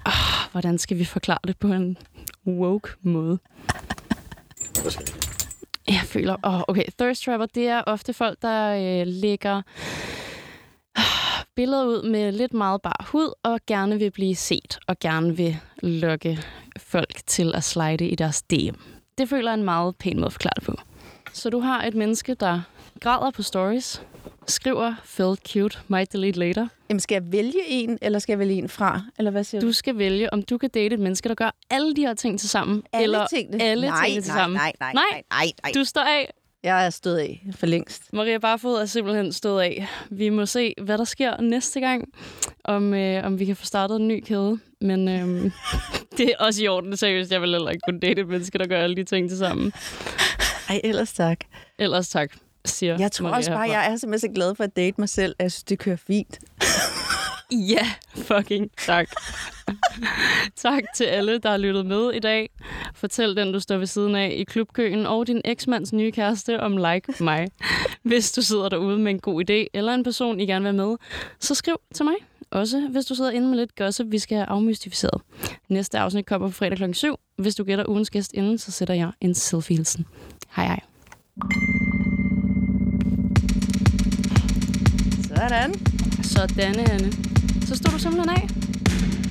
[SPEAKER 10] oh, hvordan skal vi forklare det på en woke måde? Jeg føler... Oh, okay, Thirst Trapper, det er ofte folk, der øh, lægger ah, billeder ud med lidt meget bar hud, og gerne vil blive set, og gerne vil lokke folk til at slide i deres DM. Det føler jeg er en meget pæn måde at forklare det på. Så du har et menneske, der græder på stories, skriver, felt cute, might delete later,
[SPEAKER 2] Jamen, skal jeg vælge en, eller skal jeg vælge en fra? Eller hvad siger du?
[SPEAKER 10] du skal vælge, om du kan date et menneske, der gør alle de her ting til sammen.
[SPEAKER 2] Alle
[SPEAKER 10] eller
[SPEAKER 2] tingene?
[SPEAKER 10] alle
[SPEAKER 2] nej,
[SPEAKER 10] tingene til
[SPEAKER 2] nej,
[SPEAKER 10] sammen.
[SPEAKER 2] nej, nej,
[SPEAKER 10] Nej.
[SPEAKER 2] nej, nej, nej.
[SPEAKER 10] Du står af.
[SPEAKER 2] Jeg er stået af for længst.
[SPEAKER 10] Maria Barfod er simpelthen stået af. Vi må se, hvad der sker næste gang, om, øh, om vi kan få startet en ny kæde. Men øh, det er også i orden, seriøst. Jeg vil heller ikke kunne date et menneske, der gør alle de ting til sammen.
[SPEAKER 2] Ej, ellers tak.
[SPEAKER 10] Ellers tak, siger
[SPEAKER 2] Jeg tror
[SPEAKER 10] Maria
[SPEAKER 2] også bare,
[SPEAKER 10] herfra.
[SPEAKER 2] jeg er simpelthen så glad for at date mig selv. Jeg synes, det kører fint.
[SPEAKER 10] Ja, fucking tak. tak til alle, der har lyttet med i dag. Fortæl den, du står ved siden af i klubkøen, og din eksmands nye kæreste om Like mig. Hvis du sidder derude med en god idé, eller en person, I gerne vil med, så skriv til mig. Også hvis du sidder inde med lidt gossip, vi skal have afmystificeret. Næste afsnit kommer på fredag kl. 7. Hvis du gætter ugens gæst inden, så sætter jeg en selfie-hilsen. Hej hej.
[SPEAKER 2] Sådan.
[SPEAKER 10] Sådan, Anne. Så stod du simpelthen af.